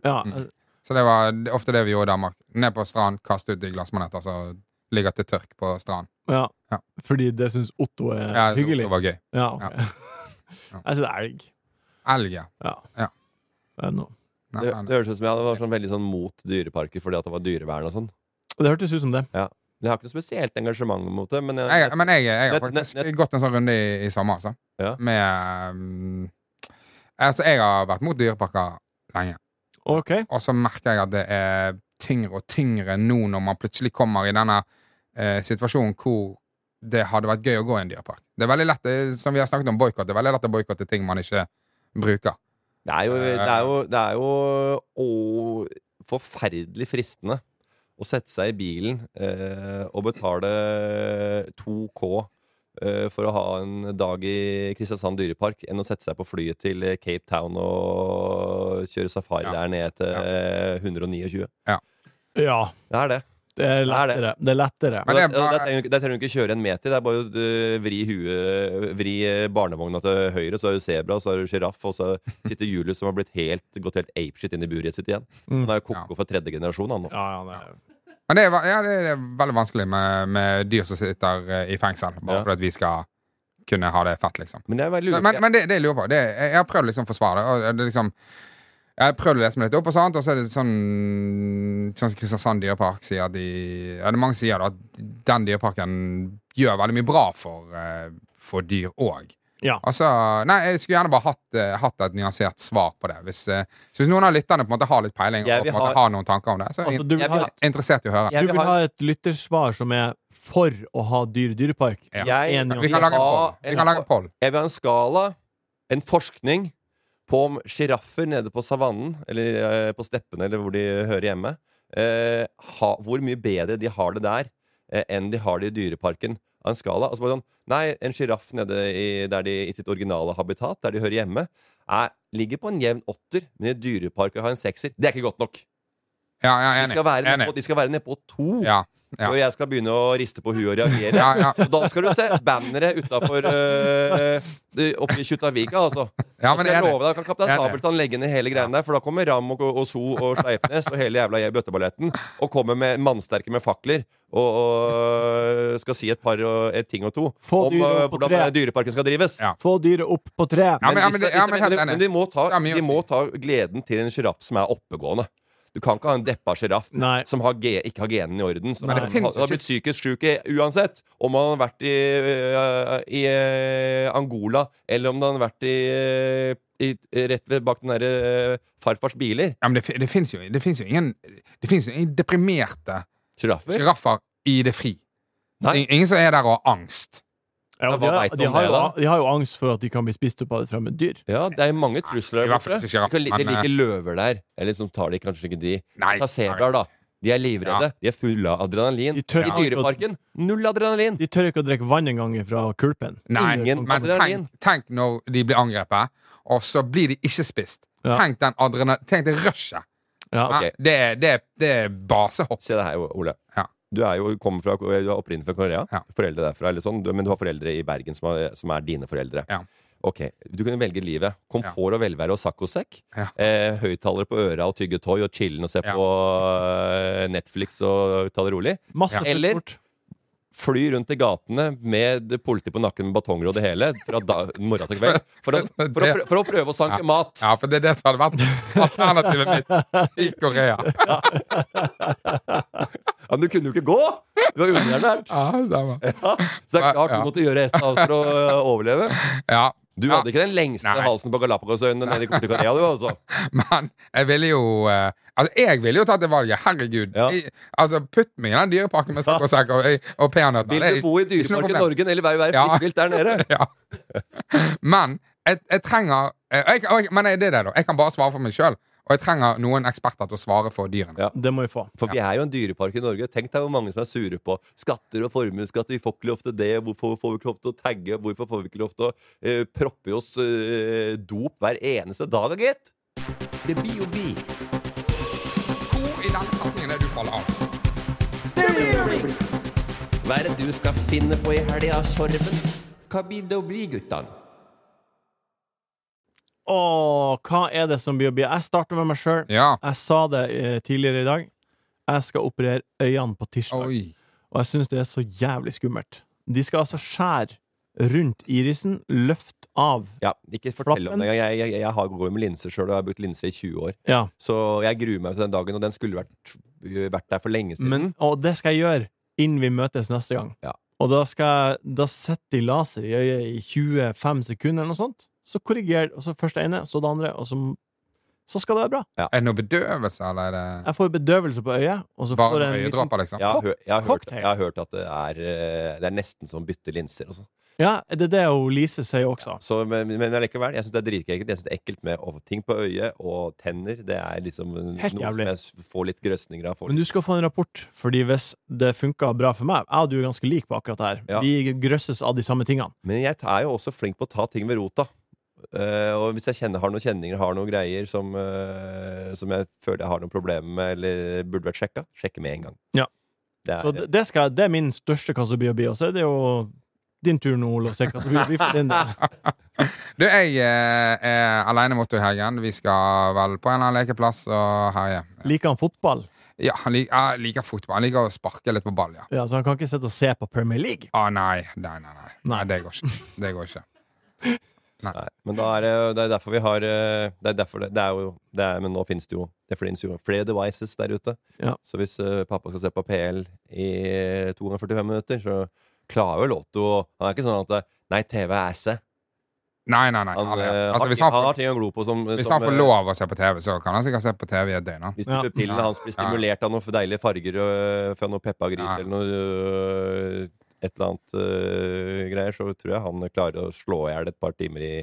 S1: Ja, altså,
S3: Mm. Så det var det- ofte det vi gjorde i Danmark. Ned på strand, kaste ut de glassmaneter som ligger til tørk på strand.
S1: ja.
S3: Ja.
S1: Fordi det syns Otto er
S3: Ja, jeg synes
S1: hyggelig?
S3: Det var gøy.
S1: Ja, ok.
S3: Ja.
S1: *laughs*
S3: Ja.
S1: Jeg syns elg.
S3: Elg, ja.
S1: Ja.
S3: Ja.
S1: Det, er noe.
S3: Nei,
S2: Det,
S3: nei, nei.
S2: det høres ut som jeg var sånn veldig sånn mot dyreparker fordi at det var dyrevern og sånn.
S1: det hørtes ut som det.
S2: Men jeg har ikke noe spesielt engasjement mot det, men jeg,
S3: Jeg, men jeg, jeg har
S2: Nett- nett-
S3: faktisk gått en sånn runde i, i sommer, altså.
S2: Ja.
S3: Med mm, Altså, jeg har vært mot dyreparker lenge.
S1: OK.
S3: Og så merker jeg at det er tyngre og tyngre nå når man plutselig kommer i denne eh, situasjonen hvor det hadde vært gøy å gå i en dyrepark. Det er veldig lett, eh, som vi har snakket om boikott, det er veldig lett å boikotte ting man ikke bruker.
S2: det er jo, det er jo, det er jo å, forferdelig fristende å sette seg i bilen eh, og betale 2K eh, for å ha en dag i Kristiansand dyrepark enn å sette seg på flyet til eh, Cape Town og kjøre safari
S3: Ja.
S2: der ned til
S3: Ja.
S2: eh, 129.
S1: Ja.
S2: Det er det.
S1: Det er
S2: Det er det.
S1: lettere. Det er lettere.
S3: Men
S2: Og da,
S3: det er bare-
S2: da, trenger du, ikke- da trenger du ikke kjøre en meter. Det er bare å øh, vri, huet, vri øh, barnevogna til høyre, så har du sebra, så har du sjiraff, og så sitter Julius som har blitt helt, gått helt apeshit inn i buret sitt igjen.
S3: Mm.
S2: Han er jo koko for tredje generasjon, han nå.
S1: Ja, ja, det er
S3: Men det er, va- ja, det er veldig vanskelig med, med dyr som sitter eh, i fengsel, bare
S2: Ja.
S3: for at vi skal kunne ha det fett, liksom.
S2: Men jeg bare
S3: Så,
S2: lurer
S3: men men det, det jeg lurer på det, er- Jeg har prøvd liksom å forsvare det. Og det er liksom, jeg har prøvd å lese meg litt opp, og sånt Og så er det sånn Sånn som Kristiansand dyrepark sier de, ja, det er Mange sier da at den dyreparken gjør veldig mye bra for, eh, for dyr òg.
S1: Ja.
S3: Altså, nei, jeg skulle gjerne bare hatt, eh, hatt et nyansert svar på det. Hvis, eh, så hvis noen av lytterne på en måte har litt peiling
S2: Jeg
S3: og på
S2: vil
S3: en måte
S2: ha-
S3: har noen tanker om det, så er jeg
S1: Altså, du vil
S2: Jeg
S1: ha
S2: vil
S3: interessert i å høre.
S1: Du
S2: Jeg
S1: vil ha et lyttersvar som er for å ha dyr i dyrepark?
S3: Ja.
S2: Jeg-
S1: Enig om
S3: Vi
S1: det.
S3: kan lage en
S2: Ja,
S3: poll. Vi kan lage en poll.
S2: Jeg vil ha en skala, en forskning, på om sjiraffer nede på savannen, eller eh, på steppene, eller hvor de hører hjemme, eh, ha, hvor mye bedre de har det der eh, enn de har det i dyreparken. Av en skala. Og så bare sånn Nei, en sjiraff nede i, der de, i sitt originale habitat, der de hører hjemme, er, ligger på en jevn åtter, men i dyreparken har en sekser. Det er ikke godt nok.
S3: Ja, ja,
S2: De
S3: enig.
S2: skal være nedpå
S3: enig.
S2: ned på to.
S3: Ja, ja.
S2: Før jeg skal begynne å riste på huet og reagere.
S3: Ja, ja.
S2: Og da skal du se banneret utafor eh, oppe i Kjuttaviga, altså.
S3: ja,
S2: Og
S3: men
S2: så jeg
S3: enig.
S2: lover deg, kan Kaptein
S3: Enig.
S2: Sabeltann legge ned hele greiene der, for da kommer Ram og, og So og Sleipnes og hele jævla bøtteballetten og kommer med mannsterke med fakler og, og skal si et par og, et ting og to
S1: Få
S2: om
S1: dyret
S2: eh,
S1: opp på
S2: hvordan
S1: treet.
S2: dyreparken skal drives.
S3: Ja.
S1: Få dyret opp på treet.
S3: Ja, men-
S2: hvis
S3: det-
S2: det-
S3: ja,
S2: hvis
S3: men
S2: det-
S3: helt
S2: men,
S3: enig.
S2: men de må, ta,
S3: Det er mye
S2: de
S3: å
S2: må
S3: si.
S2: ta gleden til en sjiraff som er oppegående. Du kan ikke ha en deppa sjiraff
S1: Nei.
S2: som har ge, ikke har genene i orden. Som
S3: Men det
S2: har,
S3: finnes jo
S2: har blitt psykisk syk i- uansett. Om han har vært i, øh, i øh, Angola, eller om han har vært i, øh, i rett ved bak den derre øh, farfars biler.
S3: Ja, men det, fi- det fins jo, det finnes jo ingen Det finnes jo ingen deprimerte
S2: Sjiraffer?
S3: Sjiraffer i det fri.
S2: Nei.
S3: In- Ingen som er der og har angst.
S1: Ja,
S2: Ja,
S1: de,
S2: hva
S1: har,
S2: vet du
S1: de,
S2: om
S1: har
S2: det,
S1: jo,
S2: da?
S1: de har jo angst for at de kan bli spist opp av et fremmed dyr.
S2: Ja, det er mange trusler
S3: i
S2: der
S3: hvert fall
S2: borte.
S3: ikke sjiraff,
S2: Det er
S3: men, eh,
S2: like løver der. Eller som tar de, kanskje ikke de.
S3: Nei,
S2: Ta sebraer, da. De er livredde. De er fulle av adrenalin.
S1: De tør
S2: I
S1: ikke å-
S2: dyreparken null adrenalin.
S1: De tør ikke å drikke vann engang fra kulpen.
S3: Nei,
S2: Ingen
S3: men
S2: adrenalin.
S3: tenk, tenk når de blir angrepet, og så blir de ikke spist.
S1: Ja.
S3: Tenk, den adrena- tenk det rushet.
S1: Ja.
S2: Ok.
S3: Nei, Det, er- det, er- det er basehopp.
S2: Se det her, Ole.
S3: Ja.
S2: Du er jo kommer fra, du er opprinnelig fra Korea.
S3: Ja.
S2: Foreldre derfra, eller sånn. Du- Men du har foreldre i Bergen som er, som er dine foreldre.
S3: Ja.
S2: Ok, Du kunne velge livet. Komfort og velvære og saccosekk.
S3: Ja.
S2: Eh, høyttalere på øra og tygge tøy og chillen og se
S3: Ja.
S2: på eh, Netflix og ta det rolig.
S1: Masse
S2: Ja. Eller-
S1: fort.
S2: Fly rundt i gatene med politi på nakken med batonger og det hele fra da, morgen til kveld for å, for, å,
S3: *laughs*
S2: prø- for å prøve å sanke mat.
S3: Ja, for det er det som hadde vært
S2: *laughs*
S3: alternativet mitt i Korea.
S2: Ja, Men du kunne jo ikke gå! Du var underernært.
S3: Ja, det stemmer.
S2: Så det er klart
S3: Ja.
S2: du måtte gjøre et eller annet for å eh, overleve.
S3: Ja,
S2: Du hadde ikke den lengste
S3: Nei.
S2: halsen på Galapagosøyene nede i
S3: *laughs*
S2: Korea, du, altså.
S3: men jeg ville jo eh, Altså, jeg ville jo tatt det valget. Herregud.
S2: Ja.
S3: Jeg, altså, putt meg i den dyreparken med sekk og, og peanøtter.
S2: Vil
S3: Det er
S2: du bo i
S3: ikke- ikke noe
S2: Dyreparken
S3: problem.
S2: Norge eller være, være
S3: Ja.
S2: fritt vilt der nede?
S3: *laughs* Ja. Men jeg, jeg trenger eh, jeg, jeg, Men det er det, da. Jeg kan bare svare for meg sjøl. Og jeg trenger noen eksperter til å svare for dyrene.
S2: Ja.
S1: Det må vi få.
S2: For vi er jo en dyrepark i Norge. Tenk deg hvor mange som er sure på skatter og formuesskatt. Vi får ikke lov til det. Hvorfor får vi ikke lov til å tagge? Hvorfor får vi ikke lov til å eh, proppe i oss eh, dop hver eneste dag, gitt? Det blir jo bi.
S3: Hvor i den setningen er det du faller av?
S2: Hva er det du skal finne på i helga, Sorven? Hva blir det å bli, guttan?
S1: Åh, hva er det som blir å bli? Jeg starter med meg sjøl.
S3: Ja.
S1: Jeg sa det eh, tidligere i dag. Jeg skal operere øynene på tirsdag.
S3: Oi.
S1: Og jeg syns det er så jævlig skummelt. De skal altså skjære rundt irisen, løft av
S2: Ja, ikke fortell om
S1: Flappen.
S2: det. Jeg, jeg, jeg, jeg har går med linser sjøl, og jeg har brukt linser i 20 år.
S1: Ja.
S2: Så jeg gruer meg til den dagen, og den skulle vært, vært der for lenge siden.
S1: Men, og det skal jeg gjøre innen vi møtes neste gang.
S2: Ja.
S1: Og da skal jeg Da setter de laser i øyet i 25 sekunder eller noe sånt. Så korriger og så først det ene, så det andre, og så Så skal det være bra.
S3: Er det noe bedøvelse, eller er det
S1: Jeg får bedøvelse på øyet, og så får
S3: bare
S1: jeg en liten
S3: øyedråper, liksom?
S2: jeg, har, hø- jeg, har hørt,
S1: cocktail.
S2: jeg har hørt at det er, eh, det er nesten som å bytte linser. altså. Også.
S1: Ja, det er det jo Lise sier også.
S2: Så, men, men allikevel, jeg syns det er dritekkelt. Jeg synes det er ekkelt med å- ting på øyet og tenner. Det er liksom
S1: Helt
S2: noe
S1: jævlig.
S2: som jeg s- får litt grøsninger av. får
S1: Men du skal få en rapport, fordi hvis det funka bra for meg Jeg og du er ganske like på akkurat det her.
S2: Ja.
S1: Vi grøsses av de samme tingene.
S2: Men jeg er jo også flink på å ta ting ved rota. Eh, og hvis jeg kjenner, har noen kjenninger, har noen greier som, eh, som jeg føler jeg har noen problemer med, eller burde vært sjekka, sjekke med en gang.
S1: Ja.
S2: Det er,
S1: Så det, det, skal, det er min største kassobiobi, og så er det jo din tur nå, Altså, Ole, å se kassobiobi for din del.
S2: *laughs*
S3: Du, jeg eh, er aleine mot i helgen. Vi skal vel på en eller annen lekeplass og herje.
S1: Liker han fotball?
S3: Ja, han lik, jeg liker fotball. Jeg liker å sparke litt på ball, ja.
S1: Ja, så han kan ikke sitte og se på Premier League?
S3: Å, nei. Nei, nei, nei. nei. Det går ikke. Det går ikke.
S2: Nei, men da er det, det er derfor vi har eh, Det er derfor det, det er jo det er, Men nå finnes det jo Det finnes jo flere devices der ute.
S1: Ja.
S2: Så hvis eh, pappa skal se på PL i 2 ganger 45 minutter, så klarer jo Lotto Han er ikke sånn at eh, Nei, TV er æse.
S3: Nei, nei, nei.
S2: Han,
S3: Aldri.
S2: eh,
S3: Altså,
S2: har,
S3: hvis han
S2: han har
S3: får,
S2: ting å glo på som,
S3: hvis
S2: som
S3: han får
S2: eh,
S3: lov å se på TV, så kan han sikkert se på TV i et døgn. han.
S2: Hvis
S1: Ja.
S2: pupillene hans blir stimulert av noen deilige farger øh, fra noe Peppa Gris
S3: Ja.
S2: eller noe øh, et eller annet øh, greier, så tror jeg han klarer å slå i hjel et par timer i,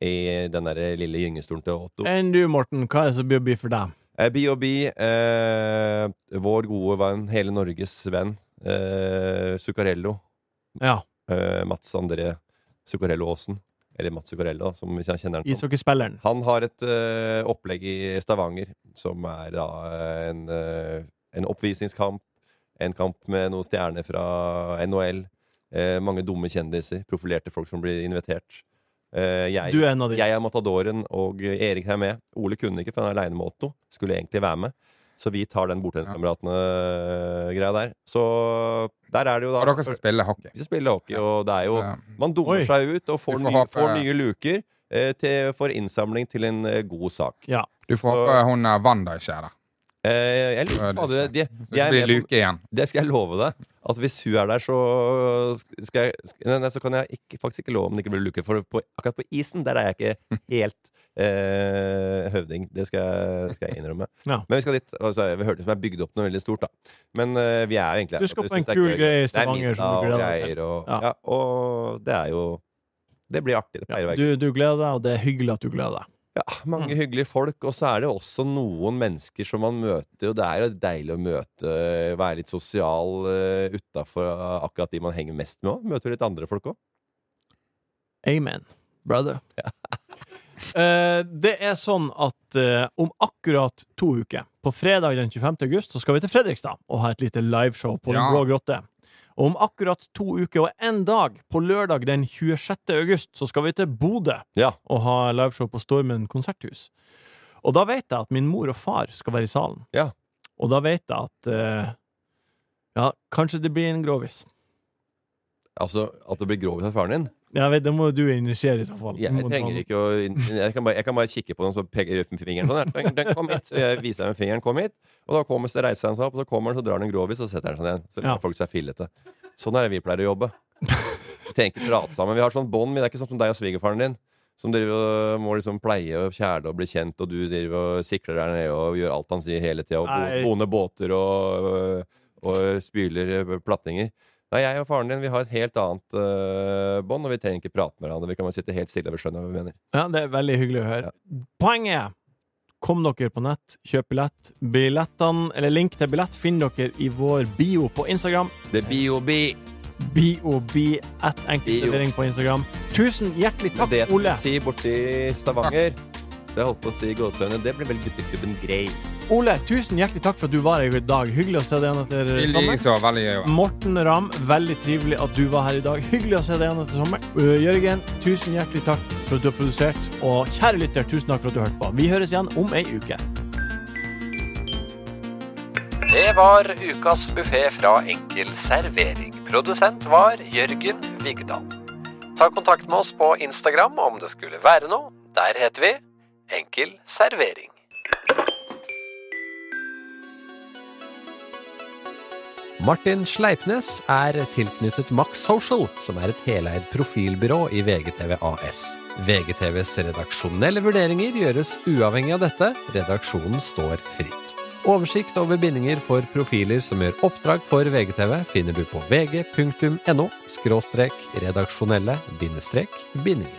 S2: i den der lille gyngestolen til Otto.
S1: Enn du, Morten, hva er det som biobi for deg?
S2: Eh, B.O.B., eh, vår gode venn, hele Norges venn, eh, Zuccarello,
S1: Ja,
S2: eh, Mats André Zuccarello Aasen, eller Mats Zuccarello, da, som vi kjenner han som.
S1: ishockeyspilleren.
S2: Han har et eh, opplegg i Stavanger som er da eh, en, eh, en oppvisningskamp, en kamp med noen stjerner fra NHL, eh, mange dumme kjendiser, profilerte folk som blir invitert. Eh, jeg,
S1: Du er en av de.
S2: jeg er Matadoren, og Erik er med. Ole kunne ikke, for han er aleine med Otto. Skulle egentlig være med. Så vi tar den bordtenniskameratene-greia der. Så der er det jo da
S3: Og dere skal spille hockey.
S2: Vi spiller hockey, og det er jo
S3: Ja.
S2: Man dummer
S1: Oi.
S2: seg ut og får,
S3: Vi får
S2: nye,
S3: håpe-
S2: får nye luker eh, til, for innsamling til en eh, god sak.
S1: Ja.
S3: Du får
S2: Så-
S3: håpe hun eh, Wanda ikke er der.
S2: Eh, jeg lurer på
S3: Ja, det
S2: det, de,
S3: er Så
S2: de
S3: det
S2: er
S3: blir
S2: med på-
S3: luke igjen.
S2: det skal jeg love deg. At hvis hun er der, så
S1: *laughs*
S2: skal jeg sk- Nei, nei, så kan jeg ikke, faktisk ikke love om det ikke blir luke. For på, akkurat på isen, der er jeg ikke helt eh, høvding. Det skal, jeg- skal jeg innrømme.
S1: Ja.
S2: Men vi skal dit. Altså, vi hørte som jeg bygde opp noe veldig stort, da. Men eh, vi er jo egentlig
S1: Du skal
S2: Vi
S1: på
S2: synes
S1: en
S2: det er
S1: kul
S2: gøy.
S1: greie i
S2: Det er
S1: Stavanger som
S2: middag
S1: du
S2: og
S1: gleder deg
S2: greier, og,
S1: Ja.
S2: ja. og det er jo Det blir artig. Det pleier å være
S1: Du, du gleder deg, og det er hyggelig at du gleder deg.
S2: ja, mange hyggelige folk, og så er det også noen mennesker som man møter, og det er jo deilig å møte, være litt sosial uh, utafor akkurat de man henger mest med òg. Møter jo litt andre folk òg.
S1: Amen,
S2: *laughs*
S1: brother. Eh, det er sånn at eh, om akkurat to uker, på fredag den 25. august, så skal vi til Fredrikstad og ha et lite liveshow på Den
S3: Ja.
S1: blå grotte. Og om akkurat to uker og én dag, på lørdag den 26. august, så skal vi til Bodø
S2: Ja.
S1: og ha liveshow på Stormen konserthus. Og da vet jeg at min mor og far skal være i salen.
S2: Ja.
S1: Og da vet jeg at eh, Ja, kanskje det blir en grovis.
S2: Altså at det blir grovis av faren din.
S1: Jeg vet, det må jo du initiere i så fall.
S2: Jeg trenger ikke å Jeg kan bare, jeg kan bare kikke på den så peker jeg med fingeren sånn. her. Den, den kom hit, så jeg viser deg med fingeren, kom hit. Og da kommer, så reiser han seg opp, og så kommer han, så drar han en grovis, og så setter han seg ned. Så
S1: Ja.
S2: lar folk seg fillete. Sånn er det vi pleier å jobbe. Vi tenker prate sammen. Vi har sånn bånd, men det er ikke sånn som deg og svigerfaren din. Som driver og må liksom pleie og kjæle og bli kjent, og du driver og sikler der nede og gjør alt han sier hele tida, og bo-
S1: Nei.
S2: boner båter og, øh, og spyler eh, platninger. Nei, jeg og faren din vi har et helt annet eh, bånd, og vi trenger ikke prate med hverandre. Vi kan bare sitte helt stille og vi skjønner hva vi mener.
S1: Ja, det er veldig hyggelig å høre. Poenget er Kom dere på nett, kjøp billett. Billettene, eller Link til billett finner dere i vår bio på Instagram.
S2: Det er BOB.
S1: BOB at enkeltservering på Instagram. Tusen hjertelig takk,
S2: Det
S1: Ole.
S2: jeg si borti Stavanger Det jeg holdt på å si i gåsehøyne, det ble vel gutteklubben Grei.
S1: Ole, tusen hjertelig takk for at du var her i dag. Hyggelig å se deg igjen etter
S3: I
S1: sommeren.
S3: likeså. Veldig gøy.
S1: Morten Ramm, veldig trivelig at du var her i dag. Hyggelig å se deg igjen etter sommeren. Øh, Jørgen, tusen hjertelig takk for at du har produsert. Og kjære lytter, tusen takk for at du hørte på. Vi høres igjen om ei uke.
S6: Det var ukas buffé fra Enkel servering. Produsent var Jørgen Vigdal. Ta kontakt med oss på Instagram om det skulle være noe. Der heter vi Enkel servering. Martin Sleipnes er tilknyttet Max Social, som er et heleid profilbyrå i VGTV AS. VGTVs redaksjonelle vurderinger gjøres uavhengig av dette. Redaksjonen står fritt. Oversikt over bindinger for profiler som gjør oppdrag for VGTV, finner du på vg.no – redaksjonelle – bindinger.